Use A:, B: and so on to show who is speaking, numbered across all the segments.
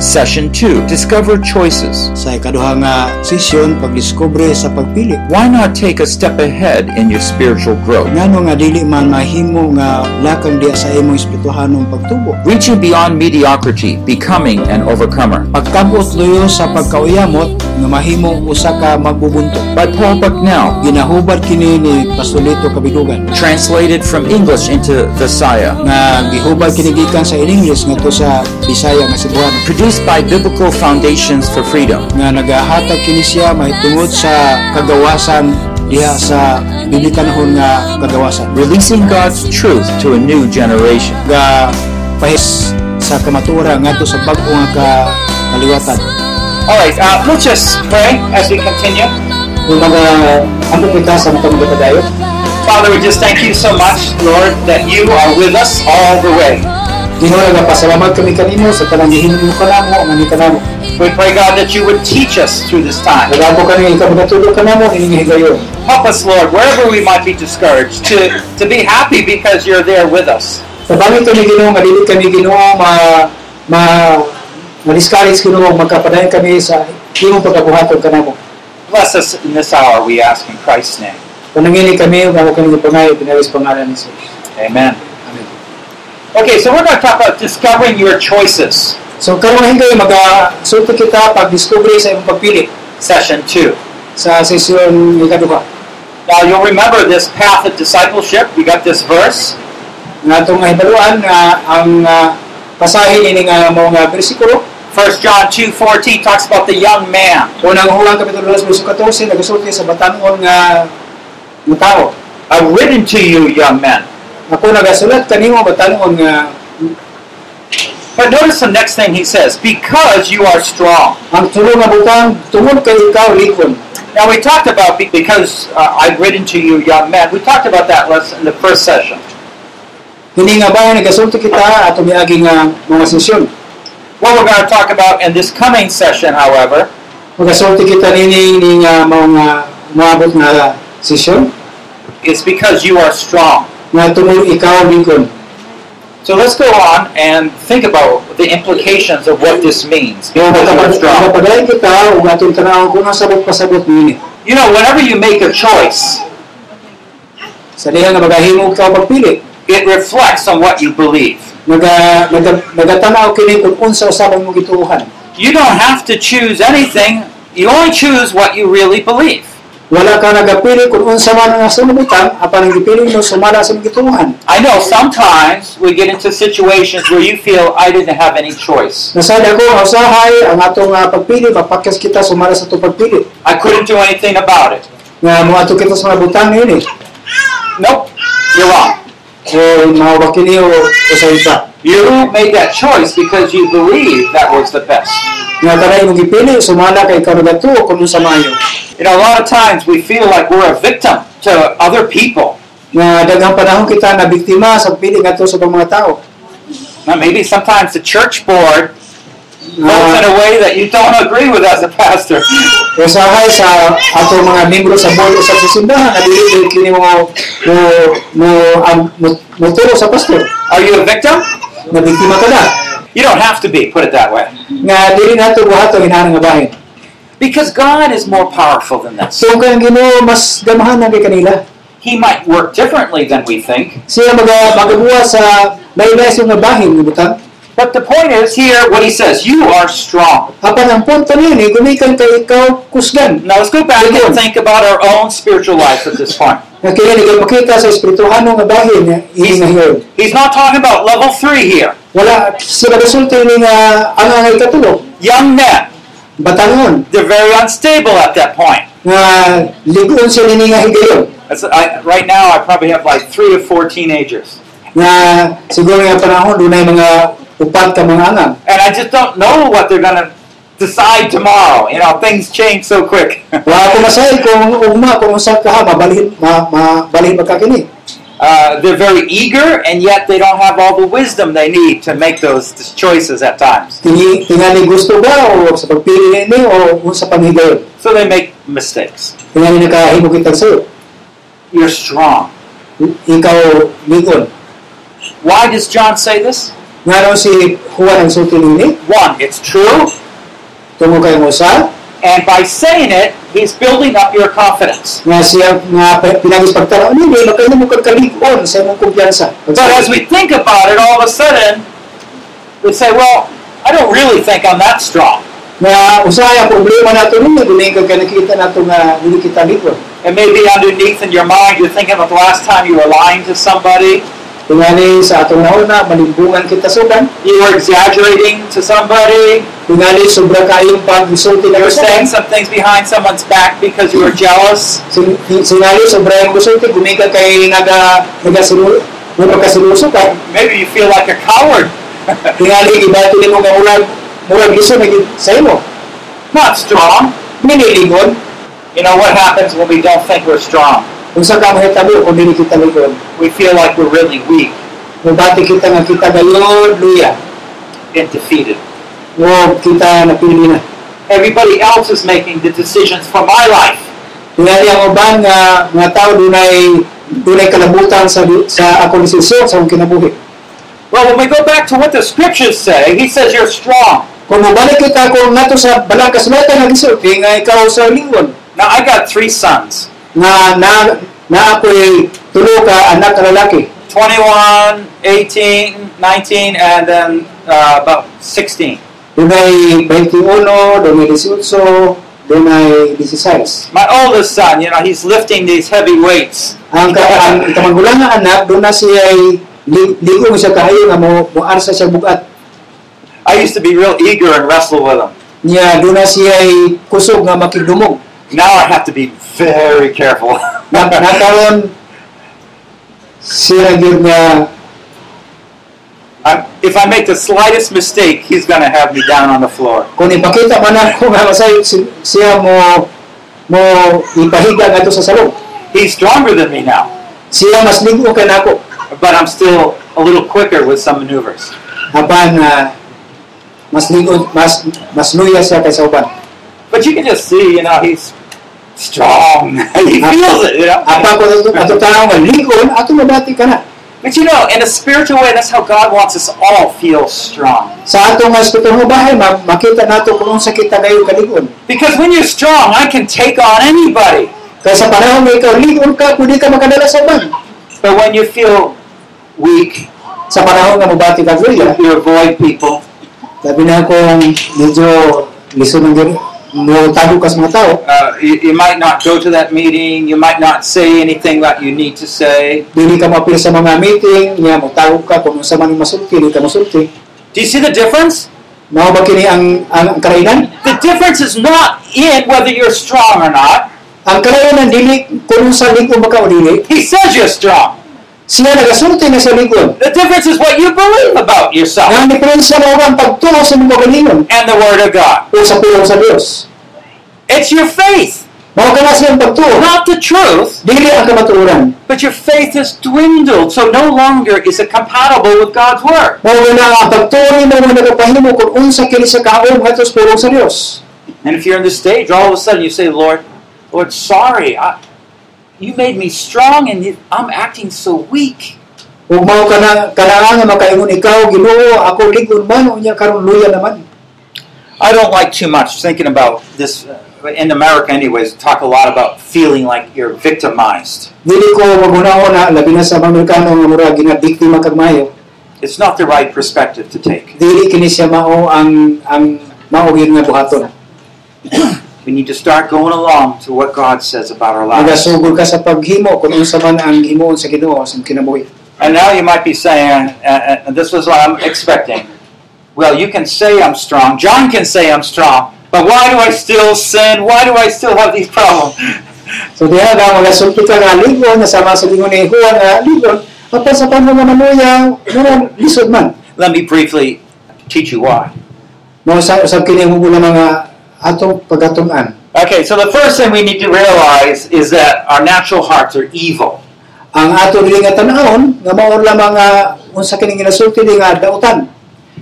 A: Session 2, Discover Choices.
B: Sa ikaduha nga sesyon, pagdiskubre sa pagpili.
A: Why not take a step ahead in your spiritual growth?
B: Ngano nga dili man mahimo nga lakang diya sa imong espirituhanong pagtubo.
A: Reaching beyond mediocrity, becoming an overcomer.
B: Pagkabuot luyo sa pagkauyamot, nga mahimo usa ka magbubuntot.
A: By Paul Bucknell.
B: Ginahubad kini ni Pasulito Kabidugan.
A: Translated from English into Visaya.
B: nga gihubad kini gikan sa English ngadto sa Bisaya nga Cebuano
A: Produced by Biblical Foundations for Freedom.
B: nga nagahatag kini siya mahitungod sa kagawasan diha sa bibitanhon nga kagawasan
A: Releasing God's truth to a new generation.
B: nga pahis sa kamatura ngadto sa bag-o nga ka kaliwatan
A: All right, uh, let's just pray as we continue.
B: kung mga ang kita sa matong dayon
A: Father, we just thank you so much, Lord, that you are with us all the way.
B: Ginoo nga pasalamat kami kanimo sa tanang gihinimo kanamo nga ni kanamo
A: We pray, God, that you would teach us through this time.
B: nagabo kami ikaw natulog kanamo ining higayon
A: Help us, Lord, wherever we might be discouraged, to, to be happy because you're there with us.
B: Tabangin to ni Ginoo nga dili kami Ginoo ma ma ma-discourage Ginoo magkapadayon kami sa imong pagkabuhaton kanamo.
A: Bless us in this hour, we ask in Christ's name.
B: Panangili kami ug ako kami pangayo pinawis pangalan ni Jesus.
A: Amen.
B: Amen.
A: Okay, so we're going to talk about discovering your choices,
B: So karon hinggay maga sulti kita pagdiskubre sa imong pagpili
A: session two.
B: sa sesyon ikaduha.
A: Now, you'll remember this path of discipleship. We got this verse.
B: Nga atong hibaluan nga ang ah, pasahe ini nga mga bersikulo
A: 1 John 2.14 talks about the young man.
B: unang hulang kapitulo 2 verso 14 nagasulti sa batan-on nga nga tao.
A: I've written to you, young men.
B: Ako nagasulat kanimo batan-on nga
A: But notice the next thing he says, because you are strong.
B: ang tulo nga butang tungod kay ikaw likon.
A: Now we talked about be- because uh, I've written to you, young men. We talked about that lesson in the first session.
B: Kini nga ba nagasulti kita ato miagi nga mga sesyon.
A: What we're going to talk about in this coming session, however,
B: Nagasulti kita nini ni nga mga maabot nga sesyon
A: is because you are strong.
B: nga tungod ikaw likon.
A: So let's go on and think about the implications of what this means.
B: Nga
A: Because you're strong.
B: padayon kita ug atong tanawon kung asa pasabot nini.
A: You know, whenever you make a choice,
B: Sa diha nga magahimo ka pagpili.
A: it reflects on what you believe.
B: Naga, naga, nagatanaw kini kung unsa usabang mong gituuhan.
A: You don't have to choose anything. You only choose what you really believe.
B: Wala ka nagapili kung unsa man ang sunubutan apan ang gipili mo sumala sa mong gituuhan.
A: I know sometimes we get into situations where you feel I didn't have any choice.
B: Nasad ako ang usahay ang atong ah, pagpili mapakyas kita sumara sa atong pagpili.
A: I couldn't do anything about it.
B: Nga mo ato kita sa mga butang eh. ini.
A: Nope, you're wrong.
B: So mawa kini o usahay ta.
A: You made that choice because you believed that was the best.
B: Nga taray mo gipili sumala kay karugatuo kung sa mayo.
A: You know, a lot of times we feel like we're a victim to other people.
B: Nga daghang panahon kita na biktima sa pili ngadto sa mga tao.
A: Now, maybe sometimes the church board votes in
B: Nga
A: a way that you don't agree with as a pastor.
B: usahay sa ato mga miyembro sa board usab sa simbahan na dili kini mo mo mo ang mo, mo turo sa pastor.
A: Are you a victim?
B: Na biktima ka na.
A: You don't have to be, put it that way.
B: Nga dili nato buhaton hinanang nga bahin.
A: Because God is more powerful than this.
B: So kang Ginoo mas gamahan na kay kanila.
A: He might work differently than we think.
B: siya maga magabuwa sa laylay sa mga bahin ng butang.
A: But the point is here, what he says, you are strong.
B: Apan ang punto niini, gumikan kay ikaw kusgan.
A: Now let's go back and think about our own spiritual life at this point.
B: Nga kaya nagay makita sa espirituhano nga bahin niya, ini nga hiyon.
A: He's not talking about level three here.
B: Wala, sila resulta ni nga ang angay katulog.
A: Young men,
B: Batangon,
A: they're very unstable at that point.
B: nga ligon sila ni nga higayon.
A: That's, I, right now, I probably have like three or four teenagers.
B: Nga siguro nga panahon, dunay mga upat ka mga angang.
A: And I just don't know what they're going to decide tomorrow. You know, things change so quick.
B: Wa ako masay kung ugma, kung usa ka ha, mabalhin, ma, mabalhin magkakini.
A: Uh, they're very eager, and yet they don't have all the wisdom they need to make those choices at times.
B: Tingi, tingali gusto ba o sa pagpili niini o unsa pang higayon.
A: So they make mistakes.
B: Tingali nakahimo kita sa'yo.
A: You're strong.
B: ikaw ligon.
A: Why does John say this?
B: Ngaron si Juan ang sulti nini
A: One, it's true,
B: tungod kay Musa
A: and by saying it, he's building up your confidence.
B: nga siya nga pinagis pagtanaw nini magkano mo kag kalig-on sa imong kumpiyansa.
A: But as we think about it, all of a sudden, we say, well, I don't really think I'm that strong.
B: na usaya ang problema nato nini dili kag nakita nato nga dili kita libre.
A: And maybe underneath in your mind, you're thinking about the last time you were lying to somebody,
B: Tingali sa atong nauna malimbungan kita sudan.
A: you were exaggerating to somebody,
B: Tingali sobra kayong pag-isulti
A: you
B: na
A: were
B: sa
A: saying some things behind someone's back because you were jealous.
B: Sin- sinalo sa Brian Busente, gumika kay naga nagasinu mo pagkasinuso ka.
A: Maybe you feel like a coward,
B: Tingali ibati nimo nga ulag murag iso na gid sa imo.
A: not strong.
B: Minilingon
A: You know what happens when we don't think we're strong?
B: unsa ka mahitabo kun dili kita ligon.
A: We feel like we're really weak
B: Mubati kita nga kita gayod luya.
A: and defeated.
B: Mo kita napili na.
A: Everybody else is making the decisions for my life.
B: Tingali ang uban nga mga tao dunay dunay kalabutan sa sa akong desisyon sa akong kinabuhi.
A: Well, when we go back to what the scriptures say, he says you're strong.
B: Kung mabalik kita kung nato sa balang kasulatan nga gisulti nga ikaw sa lingon,
A: Now, I got three sons
B: na na na ako'y tulo ka anak na lalaki.
A: 21, 18, 19, and then uh, about 16.
B: Dunay 21, dunay 18, dunay 16.
A: My oldest son, you know, he's lifting these heavy weights.
B: Ang ka ang kamangulang nga anak duna siya ay li- ligong siya kahayo nga mo moar sa siya bugat.
A: I used to be real eager and wrestle with him.
B: Niya duna siya ay kusog nga makigdumog.
A: Now I have to be very careful.
B: Na nakaron siya gyud nga
A: I, if I make the slightest mistake, he's going to have me down on the floor.
B: kung ipakita man ako nga masay si- siya mo mo ipahiga nga to sa salong.
A: He's stronger than me now,
B: Siya mas ligo kay nako.
A: but I'm still a little quicker with some maneuvers.
B: Apan na mas lingkod, mas mas luya siya kaysa uban.
A: But you can just see, you know, he's strong. he feels it, you know.
B: Apan ko ato ato tao nga lingkod, ato mabati ka na.
A: But you know, in a spiritual way, that's how God wants us all feel strong.
B: Sa ato nga espiritual bahay, ma- makita nato kung unsa kita kayo kaligod.
A: Because when you're strong, I can take on anybody.
B: Kaysa panahon nga ikaw lingkod ka, pwede ka makadala sa uban.
A: But when you feel weak,
B: Sa panahon nga mabati ka luya,
A: you avoid people.
B: sabi na kung medyo liso ng gani, mo tago ka sa mga tao,
A: Uh, you, you might not go to that meeting. You might not say anything that you need to say.
B: dili ka mapil sa mga meeting, niya mo tago ka kung unsa man ang masulti, dili ka masulti.
A: Do you see the difference?
B: Mao ba kini ang ang, ang karainan?
A: The difference is not in whether you're strong or not.
B: Ang kalayanan dili kung sa lingkod ba ka o dili,
A: He says you're strong.
B: siya nagasulti na sa lingkod.
A: The difference is what you believe about yourself
B: Ang diferensya mo ba ang pagtuo sa mga galingon
A: and the Word of God.
B: o sa pulong sa Dios?
A: It's your faith,
B: Mao ka na siyang pagtuo,
A: not the truth,
B: dili ang kamatuoran.
A: but your faith has dwindled, so no longer is it compatible with God's Word.
B: Mao ka na ang pagtuo ni mo nga nagpahimo kung unsa kini sa kaong hatos pulong sa Dios.
A: And if you're in this stage, all of a sudden you say, Lord, Lord, sorry. I, you made me strong and you- I'm acting so weak.
B: Ug mao ka na kanaang makaingon ikaw Ginoo, ako ligon man unya karon luya naman.
A: I don't like too much thinking about this. uh, In America, anyways, talk a lot about feeling like you're victimized.
B: Dili ko magunahon na labi na sa mga Amerikano nga mura ginabiktima kag mayo.
A: It's not the right perspective to take.
B: Dili kini siya mao ang ang mao gyud nga buhaton.
A: We need to start going along to what God says about our lives.
B: Nagasugod ka sa paghimo kung unsa man ang himoon sa Ginoo sa kinabuhi.
A: And now you might be saying, uh, uh, and this was what I'm expecting. Well, you can say I'm strong. John can say I'm strong. But why do I still sin? Why do I still have these problems?
B: So diha nga mga sulti ka nga ligon na sama sa lingon ni Juan nga ligon apan sa panahon nga manuya mura lisod man.
A: Let me briefly teach you why.
B: Mao sa usab kini ang mga mga atong pagatun-an.
A: Okay, so the first thing we need to realize is that our natural hearts are evil.
B: Ang ato dili nga tan-awon nga mao lamang nga unsa kini ginasulti ni nga dautan.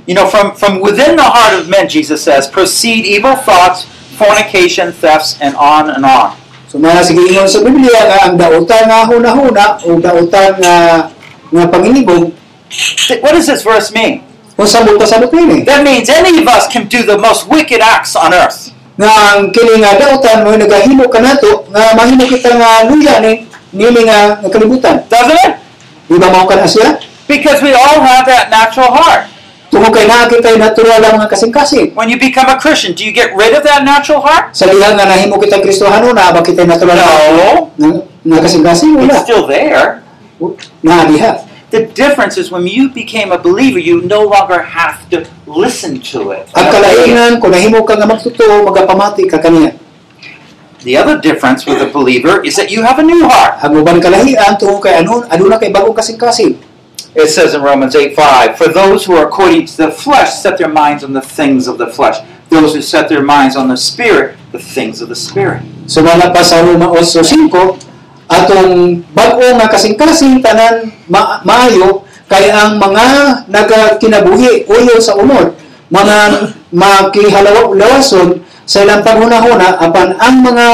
A: You know, from, from within the heart of men, Jesus says, proceed evil thoughts, fornication, thefts, and on and on.
B: So mga sige ingon sa Biblia nga ang dautan nga huna-huna o dautan nga nga pangilibog
A: Th- What does this verse mean?
B: Kung sabot ka sa eh. doktrina.
A: That means any of us can do the most wicked acts on earth.
B: Nga ang kini nga dautan mo nagahimo ka nato nga mahimo kita nga luya ni nili nga nakalibutan.
A: Doesn't it?
B: Di ba mao kana siya?
A: Because we all have that natural heart.
B: Tungod kay naa kita'y natural lang nga kasing-kasing.
A: When you become a Christian, do you get rid of that natural heart?
B: Sa liha nga nahimo kita Kristohano na ba kita'y natural lang
A: No.
B: nga, nga kasing-kasing
A: It's
B: wala.
A: still there.
B: Naa diha.
A: The difference is when you became a believer, you no longer have to listen to it.
B: At kalainan kung nahimo ka nga magtotoo magapamati ka kaniya.
A: The other difference with a believer is that you have a new heart.
B: Ang uban kalahian tungod kay anon aduna kay bagong kasing-kasing.
A: It says in Romans 8 5, For those who are according to the flesh set their minds on the things of the flesh, those who set their minds on the spirit, the things of the spirit.
B: Sumala pa sa Roma 8.5, atong bag-o nga kasing-kasing tanan ma- maayo kay ang mga nagkinabuhi uyo sa unod, mga makihalawason sa ilang panghunahuna, apan ang mga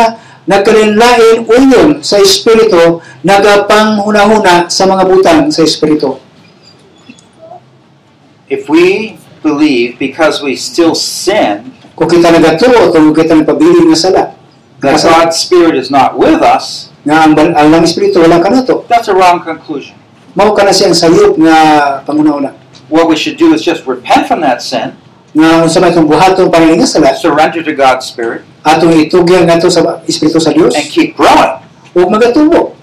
B: nagkalinlain uyon sa Espiritu, nagapanghunahuna sa mga butang sa Espiritu.
A: If we believe because we still sin,
B: Kung kita nagatuo, kung kita nagpabiling nga sala,
A: that
B: Yes.
A: God's spirit is not with us,
B: nga ang, ban- ang lang Espiritu, wala ka na to.
A: that's a wrong conclusion.
B: Mao ka na siyang sayop nga panghunahuna.
A: What we should do is just repent from that sin,
B: nga unsa may itong buhaton panalinga sala
A: surrender to God's spirit,
B: atong itugyan ngadto sa espiritu sa Dios
A: and keep growing.
B: ug magatubo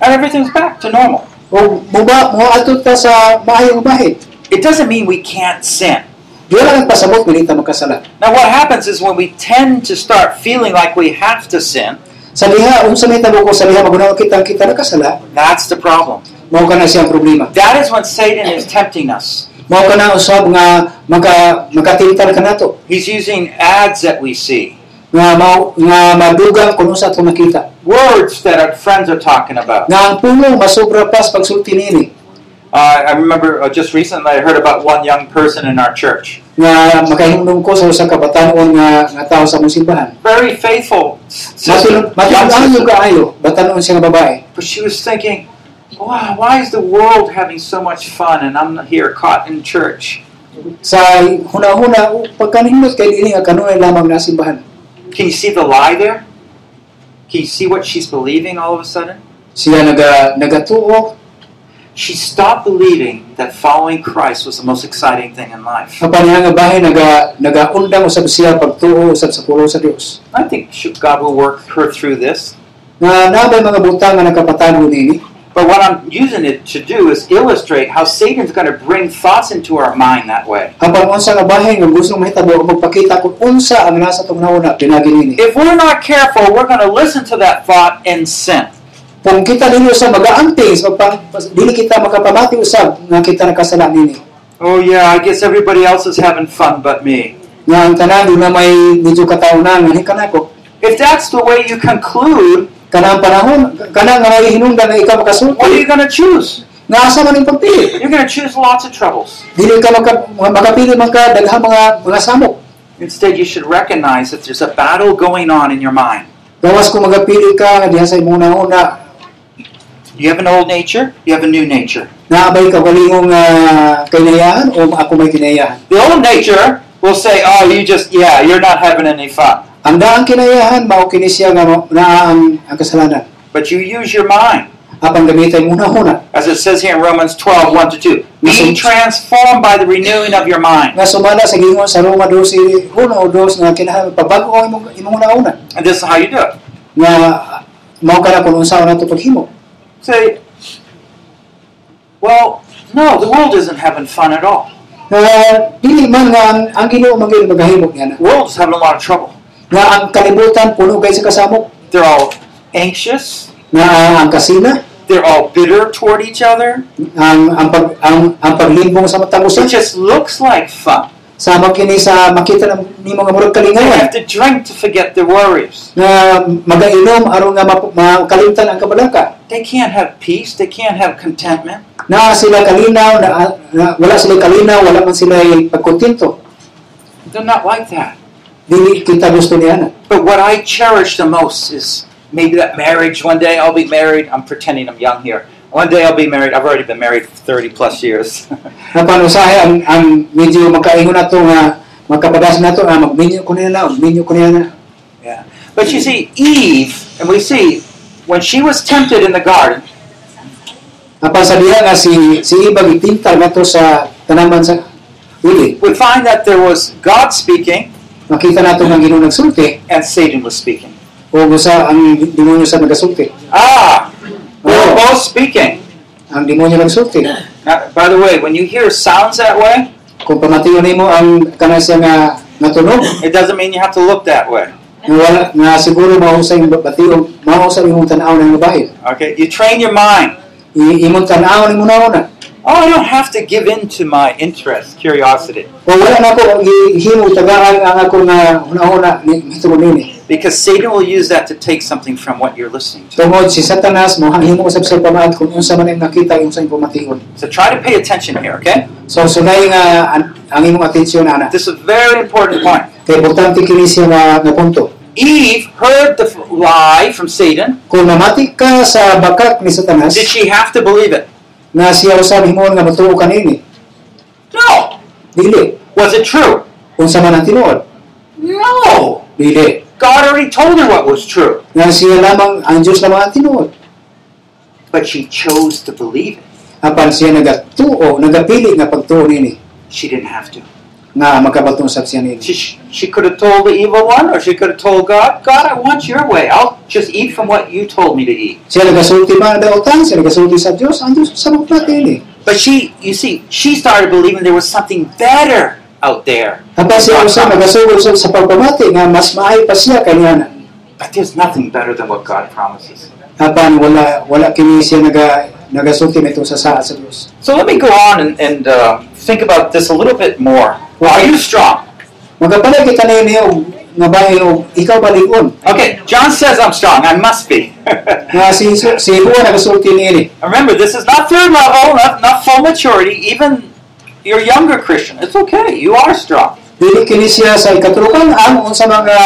A: And everything's back to normal.
B: ug muba mo ato ta sa maayong bahin
A: It doesn't mean we can't sin.
B: Diyo lang ang pasabot nita magkasala
A: Now, what happens is when we tend to start feeling like we have to sin,
B: sa liha unsa may tabo ko sa liha magunaw kita kita nakasala
A: that's the problem.
B: mao ka na siyang problema
A: That is when Satan is tempting us.
B: mao ka na usab nga maka makatintal ka nato
A: He's using ads that we see,
B: nga mao nga madugang kun unsa ato nakita
A: words that our friends are talking about.
B: nga ang pulong masobra pas pagsulti nini
A: Uh, I remember uh, just recently I heard about one young person in our church,
B: nga makahimdom ko sa usa ka batan-on nga nga tawo sa mong simbahan
A: very faithful s- sister,
B: Matul-
A: young
B: Matulungan
A: sister,
B: yung kaayo, batanon siya nga babae.
A: but she was thinking, "Wow, why is the world having so much fun and I'm here caught in church?"
B: Sa huna-huna, o, pagkanindot kay dili nga kanunay lamang na simbahan.
A: Can you see the lie there? Can you see what she's believing all of a sudden?
B: Siya naga, nagatuo,
A: She stopped believing that following Christ was the most exciting thing in life.
B: ang panihan nga bahay naga, nagaundang usab siya pagtuo usab sa pulo sa Dios.
A: I think she- God will work her through this.
B: Nga nabay mga butang nga nakapatanon nini,
A: But what I'm using it to do is illustrate how Satan's going to bring thoughts into our mind that way.
B: hapang unsa nga bahay nga gusto mahitabo o magpakita kung unsa ang nasa tong nauna pinagi nini.
A: If we're not careful, we're going to listen to that thought and sin.
B: Kung kita dinhi usab magaanting sa pagpang dili kita makapamati usab nga kita nakasala nini.
A: Oh, yeah, I guess everybody else is having fun but me.
B: Nga ang tanan na may medyo katawnan nga hikanako
A: If that's the way you conclude,
B: kanang panahon, kanang nga may hinungdan na ikaw
A: what are you
B: makasulti,
A: going to choose?
B: nga asa man ang pagpili.
A: You're going to choose lots of troubles.
B: Dili ka maka, makapili man ka daghang mga mga samok.
A: Instead, you should recognize that there's a battle going on in your mind.
B: Gawas kung magapili ka nga diha sa imong una
A: You have an old nature, you have a new nature.
B: naabay ka walingong uh, kinayahan o ako may kinayahan.
A: The old nature will say, "Oh, you just yeah, you're not having any fun."
B: Ang daang kinayahan mao kini siya nga ma- naa ang, ang kasalanan.
A: But you use your mind,
B: Apan gamitay muna una
A: as it says here in Romans 12, 1 to 2. Be
B: Mhm.
A: transformed by the renewing of your mind.
B: nga sumala sa gingon sa Roma 12 1 o 2 nga kinahan pabag-o ang imong imong una una
A: And this is how you do it.
B: nga mao ka na kung unsa na to paghimo.
A: Say, well, no, the world isn't having fun at all.
B: Nga dili man nga ang, ang Ginoo magil magahimo niya na.
A: The world is having a lot of trouble.
B: nga ang kalibutan puno kay sa kasamok
A: They're all anxious.
B: nga ang kasina
A: They're all bitter toward each other.
B: ang ang pag ang, ang paglimbong sa matang
A: It
B: usa
A: just looks like fun.
B: sama kini sa makita ng nimo nga murag
A: They have
B: kalingawan
A: to drink to forget their worries.
B: nga magainom aron nga map- makalimtan ang kabalaka
A: They can't have peace. They can't have contentment.
B: na sila kalinaw na, na wala sila kalinaw wala man sila pagkontento
A: They're not like that.
B: dili kita gusto niya na
A: But what I cherish the most is maybe that marriage. One day I'll be married. I'm pretending I'm young here. One day I'll be married. I've already been married for 30 plus years.
B: Napanusahe ang, ang medyo magkaingon na to nga magkapagas na to nga magminyo ko nila magminyo ko nila
A: but you see, Eve, and we see when she was tempted in the garden,
B: Apan sa diha nga si si ibang itintal na to sa tanaman sa uli
A: we find that there was God speaking
B: makita nato nga Ginoo nagsulti
A: and Satan was speaking.
B: o usa ang demonyo sa nagasulti
A: Ah, we were
B: Oh.
A: both speaking.
B: ang demonyo nagsulti
A: Now, by the way, when you hear sounds that way,
B: kung pamatiyo nimo ang kana siya nga natunog
A: it doesn't mean you have to look that way.
B: nga wala nga siguro mahusay ang batiyo mahusay imong tan-aw ng babae
A: Okay, you train your mind.
B: I- imong tan-aw nimo na
A: Oh, I don't have to give in to my interest, curiosity,
B: o wala na ko himo tagaan ang ako nga una-una ni- mitulog nini
A: because Satan will use that to take something from what you're listening to.
B: tungod si Satanas mo himo usab sa pamaad kung unsa man ang nakita unsa imong pamatiyon
A: So try to pay attention here, okay?
B: So sunay nga an- ang imong atensyon ana.
A: This is a very important point.
B: Kay importante kini siya nga nga punto.
A: Eve heard the f- lie from Satan.
B: Kung namati ka sa bakak ni Satanas
A: Did she have to believe it?
B: na siya usab himuon nga matuo kanini,
A: No.
B: dili.
A: Was it true?
B: Unsa man ang tinuod?
A: No.
B: Dili.
A: God already told her what was true,
B: Nga siya lamang ang Dios lamang ang tinuod.
A: but she chose to believe it.
B: Apan siya nagatuo, nagapili nga pagtuo nini
A: She didn't have to.
B: nga makabatong sab siya nini.
A: She, she could have told the evil one, or she could have told God, God, I want your way. I'll just eat from what you told me to eat.
B: Siya nagasulti ba ang daotan, siya nagasulti sa Dios, ang Dios sa mga nini.
A: But she, you see, she started believing there was something better out there.
B: Apan siya usab nagasugod sa sa pagpamati nga mas maayo pa siya kanya
A: But there's nothing better than what God promises.
B: apan wala wala kini siya naga nagasulti nito sa saa sa Dios.
A: So let me go on and, and uh, think about this a little bit more. Well, are you strong?
B: Magapalag kita na niyo nga bahay o ikaw balig-on.
A: Okay, John says I'm strong. I must be.
B: Nga si si Juan nagasulti niini.
A: Remember, this is not third level, not, not full maturity. Even your younger Christian, it's okay. You are strong.
B: Dili kini siya sa ikatulukan ang unsa mga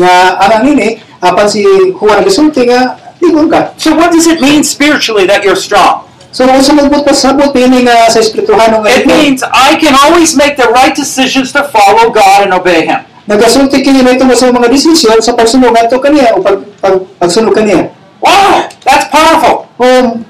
B: nga alang nini apan si Juan nagasulti nga ligon ka.
A: So what does it mean spiritually that you're strong?
B: So unsa magbut pasabot ini nga sa espirituhan nga
A: It
B: ligon.
A: means I can always make the right decisions to follow God and obey Him.
B: Nagasulti kini nito nga sa mga desisyon sa pagsunod ngadto kaniya o pag, pag pagsunod kaniya.
A: Wow, that's powerful.
B: Um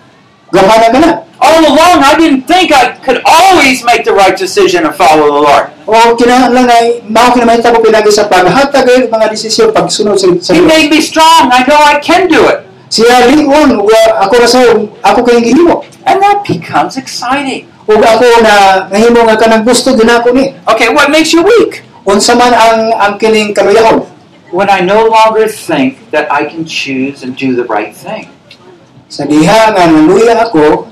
B: gamana ka na.
A: All along, I didn't think I could always make the right decision and follow the Lord.
B: O kinahanglan ay mao kinamahita ko pinagi sa paghatag og mga desisyon pagsunod sa sa
A: He
B: Dios.
A: made me strong. I know I can do it.
B: Siya lingon wa ako ra sa um, ako kay gihimo.
A: And that becomes exciting.
B: Ug ako na nahimo nga kanang gusto dinako ni.
A: Okay, what makes you weak?
B: Unsa man ang ang kining kaluyahon?
A: When I no longer think that I can choose and do the right thing.
B: Sa diha nga naluya ako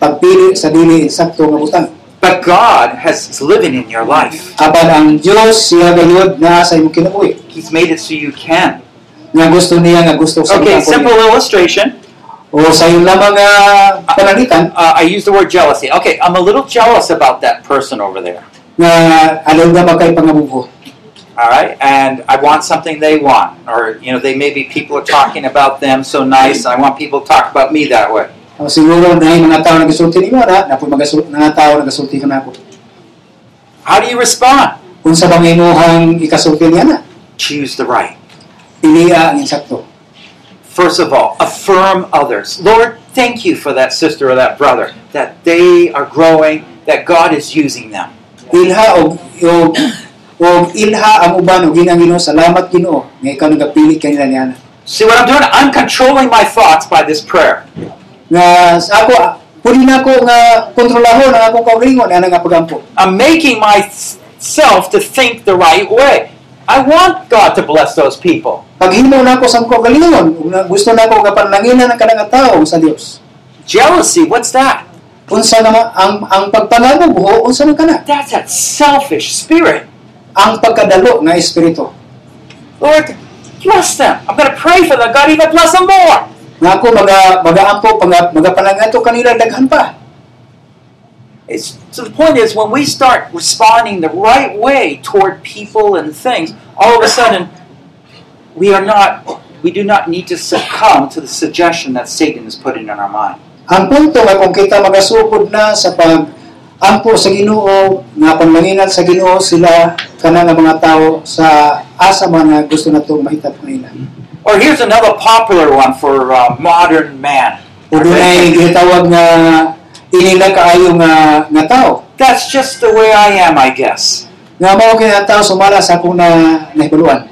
B: pagpili sa dili sakto nga butang.
A: But God has is living in your life.
B: Apan ang Dios siya gayud na sa imong kinabuhi.
A: He's made it so you can.
B: Nga gusto niya nga gusto sa
A: Okay,
B: mga ako
A: simple
B: niya.
A: illustration.
B: O sa iyon lamang ah, nga panalitan
A: Uh, I use the word jealousy. Okay, I'm a little jealous about that person over there.
B: nga alaw na magkay pangabubo.
A: All right, and I want something they want, or you know, they maybe people are talking about them so nice. I want people to talk about me that way.
B: O siguro na yung mga tao nagasulti ni Mara, na po magasulti, mga tao nagasulti ka na ako.
A: How do you respond?
B: Kung sa mga inuhang ikasulti niya na,
A: Choose the right.
B: piliya ang insakto.
A: First of all, affirm others. Lord, thank you for that sister or that brother, that they are growing, that God is using them.
B: Ilha o, o, o ilha ang uban o ginang ginoo, salamat ginoo, nga ikaw nagapili kay nila niya na.
A: See what I'm doing? I'm controlling my thoughts by this prayer.
B: Nga sa ako, ah, puli na ako nga kontrolahon ang akong kaulingon, ana nga pagampo.
A: I'm making myself to think the right way. I want God to bless those people.
B: Paghimo na ako sa akong kaugalingon, ug na- gusto na ako nga panlanginan ang kanang tao sa Dios.
A: Jealousy, what's that?
B: Unsa na ang ang pagpalabog ho, unsa man kana?
A: That's that selfish spirit.
B: Ang pagkadalo nga espiritu.
A: Lord, bless them. I'm going to pray for them. God, even bless them more.
B: nga ako maga magaampo pag magapanangato kanila daghan pa
A: It's, so the point is, when we start responding the right way toward people and things, all of a sudden, we are not, we do not need to succumb to the suggestion that Satan is putting in our mind.
B: Ang punto nga kung kita magasukod na sa pag ampo sa Ginoo nga panglanginan sa Ginoo sila kana nga mga tao sa asa man nga gusto nato mahitabo nila.
A: Or here's another popular one for uh, modern man.
B: O dunay gitawag nga inila kaayo nga nga tao.
A: That's just the way I am, I guess.
B: Nga mao kay ang tao sumala sa akong na nahibuluan.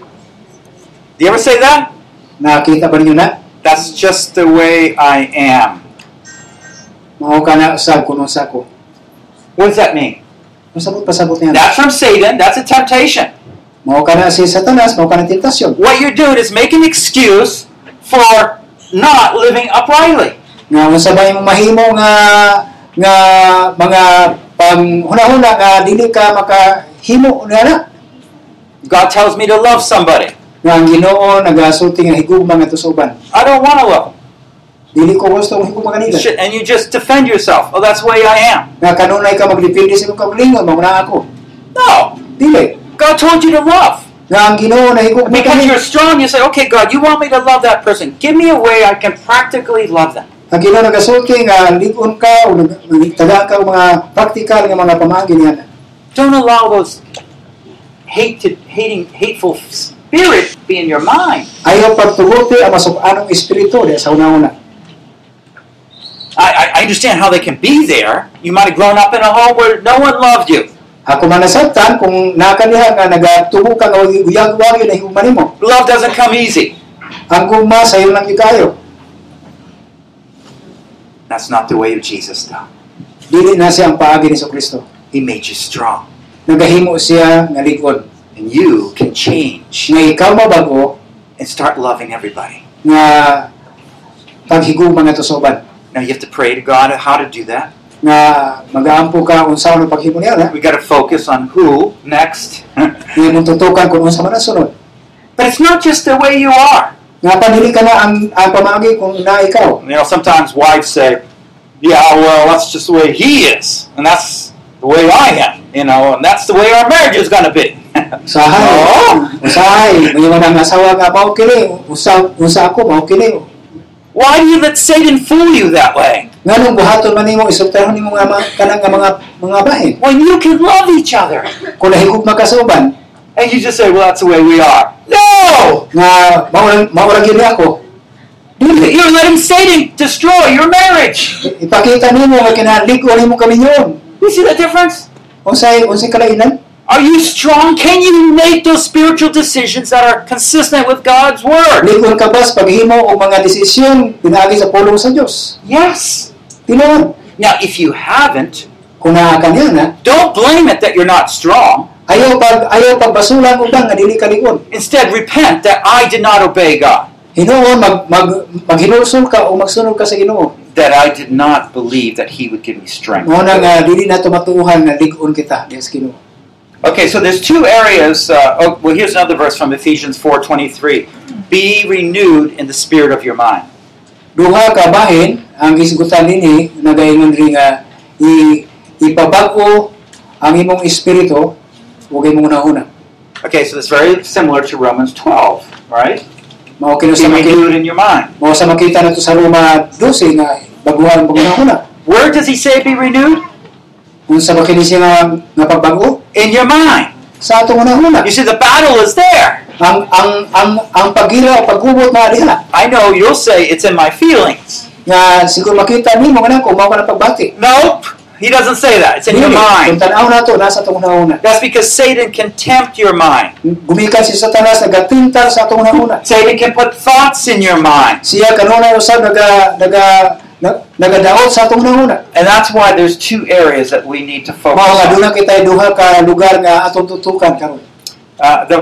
A: Do you ever say that?
B: Nakita ba ninyo na?
A: That's just the way I am.
B: Mao ka na usab kuno sa ako.
A: What does that mean?
B: Masabot pasabot niya.
A: That's from Satan. That's a temptation.
B: Mao ka na si Satanas, mao ka na tentasyon.
A: What you're doing is making an excuse for not living uprightly.
B: Nga masabay mong mahimo nga nga mga panghuna-huna nga dili ka makahimo nga na.
A: God tells me to love somebody.
B: Nga ang Ginoo nagasulti nga higugma nga tusuban.
A: I don't want to love
B: Dili ko gusto ang higugma kanila.
A: them. Shit, And you just defend yourself. Oh, that's the way I am.
B: Nga kanunay ka magdepende sa imong kaugalingon, mao na ako.
A: No.
B: Dili.
A: God told you to love.
B: Nga ang Ginoo na higugma
A: Because
B: kanila.
A: you're strong, you say, okay, God, you want me to love that person. Give me a way I can practically love them.
B: Ang Ginoo nagasulti nga ligon ka o nag- nagtaga ka og mga praktikal nga mga pamagi niya.
A: Don't allow those hated, hating, hateful spirits to be in your mind.
B: Ayaw pagtuguti ang masuk-anong espiritu diya sa una-una.
A: I, I- I understand how they can be there. You might have grown up in a home where no one loved you.
B: Ako man nasabtan kung nakaniha nga nagatubo ka nga uyag-uyag na higugma nimo.
A: Love doesn't come easy.
B: Ang gugma sa iyo lang yung kayo.
A: That's not the way of Jesus, though.
B: Dili na siya ang paagi ni Kristo.
A: He made you strong,
B: Nagahimo siya nga ligon.
A: and you can change
B: Nga ikaw mabago
A: and start loving everybody.
B: nga paghigugma nga tusoban.
A: Now you have to pray to God how to do that.
B: Nga mag-aampo ka unsa ang paghimo niya na.
A: We got to focus on who next. but
B: Nga mong tutukan kung unsa man ang sunod.
A: it's not just the way you are.
B: Nga panili ka na ang, ang pamagi kung na ikaw.
A: You know, sometimes wives say, "Yeah, well, that's just the way he is, and that's the way I am." You know, and that's the way our marriage is going to be.
B: Usahay. Usahay. May mga nang asawa nga mao kini. Usa usa ako mao kini.
A: Why do you let Satan fool you that way
B: Nganong buhaton man nimo isultahan nimo nga mga kanang nga mga mga bahin.
A: when you can love each other?
B: Kung nahigugma ka sa uban
A: And you just say, "Well, that's the way we are." No,
B: nga mao mao ra gyud ako. Dili.
A: you're letting Satan destroy your marriage.
B: Ipakita nimo nga kinahanglan ko nimo kami yun.
A: You see the difference?
B: Unsay unsay kalainan?
A: Are you strong? Can you make those spiritual decisions that are consistent with God's word?
B: Ligon ka bas paghimo og mga desisyon pinaagi sa pulong sa Dios.
A: Yes.
B: Tinuod
A: Now, if you haven't,
B: kung naa ka niya na
A: don't blame it that you're not strong.
B: ayaw pag ayaw pagbasulan ubang nga dili ka ligon.
A: Instead, repent that I did not obey God,
B: Ginoo mag mag maghinulsol ka o magsunod ka sa Ginoo.
A: that I did not believe that He would give me strength.
B: Mao na nga dili na tumatuuhan na ligon kita diha sa Ginoo.
A: Okay, so there's two areas. Uh, oh, well, here's another verse from Ephesians 4:23. Be renewed in the spirit of your mind.
B: Duha ka bahin ang isgutan eh, nini nagaingon ri nga i ipabag-o ang imong espiritu ug imong una-una.
A: Okay, so it's very similar to Romans 12, right?
B: Mao kini
A: Be
B: sa makita,
A: renewed in your mind.
B: mao sa makita nato sa Roma 12 nga baguhan ang una-una.
A: Where does He say be renewed?
B: Unsa ba kini siya nga nga pagbag-o
A: In your mind.
B: sa atong una-una?
A: You see, the battle is there.
B: Ang ang ang ang pagira o pagubot na diha
A: I know you'll say it's in my feelings.
B: nga siguro makita nimo nga kung mao ka na pagbati.
A: Nope, He doesn't say that. It's in your
B: Dili.
A: mind.
B: Kung tanaw na to, nasa itong una-una.
A: That's because Satan can tempt your mind.
B: Gumikan si Satanas, nagatintal sa itong una-una.
A: Satan can put thoughts in your mind.
B: Siya kanunay usab naga naga na- nagadaot sa atong una.
A: And that's why there's two areas that we need to focus
B: Mao nga
A: on.
B: duna kita duha ka lugar nga atong tutukan karon.
A: Uh, the,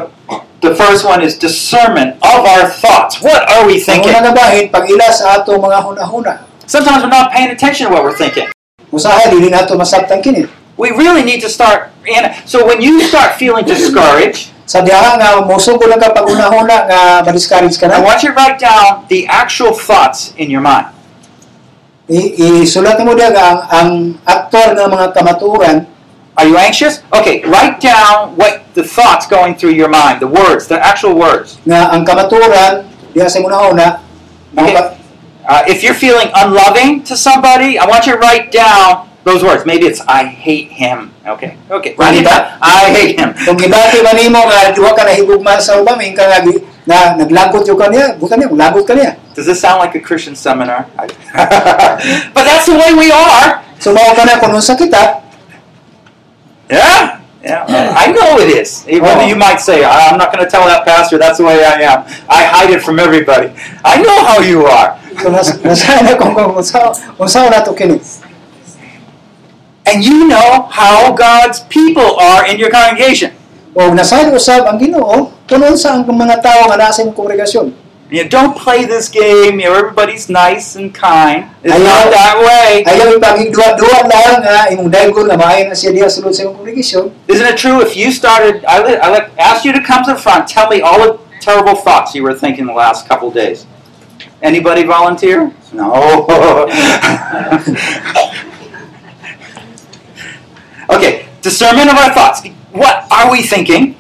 A: the first one is discernment of our thoughts. What are we
B: Ang
A: thinking?
B: una nga bahin pagila sa atong mga hunahuna.
A: Sometimes we're not paying attention to what we're thinking.
B: Usahay dili nato masabtan kini.
A: We really need to start. And so when you start feeling discouraged,
B: Sa diha nga mosugod lang ka pag una-una nga madiscourage ka
A: I
B: na.
A: want you to write down the actual thoughts in your mind.
B: I, isulat mo diha nga ang, ang aktor nga mga kamatuoran
A: Are you anxious? Okay, write down what the thoughts going through your mind, the words, the actual words.
B: nga ang kamatuoran diha sa unahuna
A: Okay.
B: okay.
A: Uh, if you're feeling unloving to somebody, I want you to write down those words. Maybe it's "I hate him." Okay, okay. Write it down. I hate him.
B: Kung gibati man nimo nga duha ka nahigugma sa ubaming ka nga gi- na naglagot yo kaniya, bukan niya, lagot kaniya.
A: Does this sound like a Christian seminar? but that's the way we are.
B: So mao ka na kung unsa kita,
A: Yeah. Yeah, I know it is. Whether you might say, "I- I'm not going to tell that pastor, that's the way I am. I hide it from everybody. I know how you are.
B: so nas nasana kung kung unsa unsa na to kini.
A: And you know how God's people are in your congregation.
B: O nasad usab ang Ginoo kung unsa ang mga tawo nga naa sa imong kongregasyon.
A: You know, don't play this game. You know, everybody's nice and kind. It's
B: I
A: not
B: know.
A: that way.
B: Ayaw ipagigduwa-duwa lang nga imong dayon nga maayon na siya diha sulod sa imong kongregasyon.
A: Isn't it true? If you started, I, li- I li- asked you to come to the front. Tell me all the terrible thoughts you were thinking the last couple days. Anybody volunteer? No. okay, discernment of our thoughts. What are we thinking?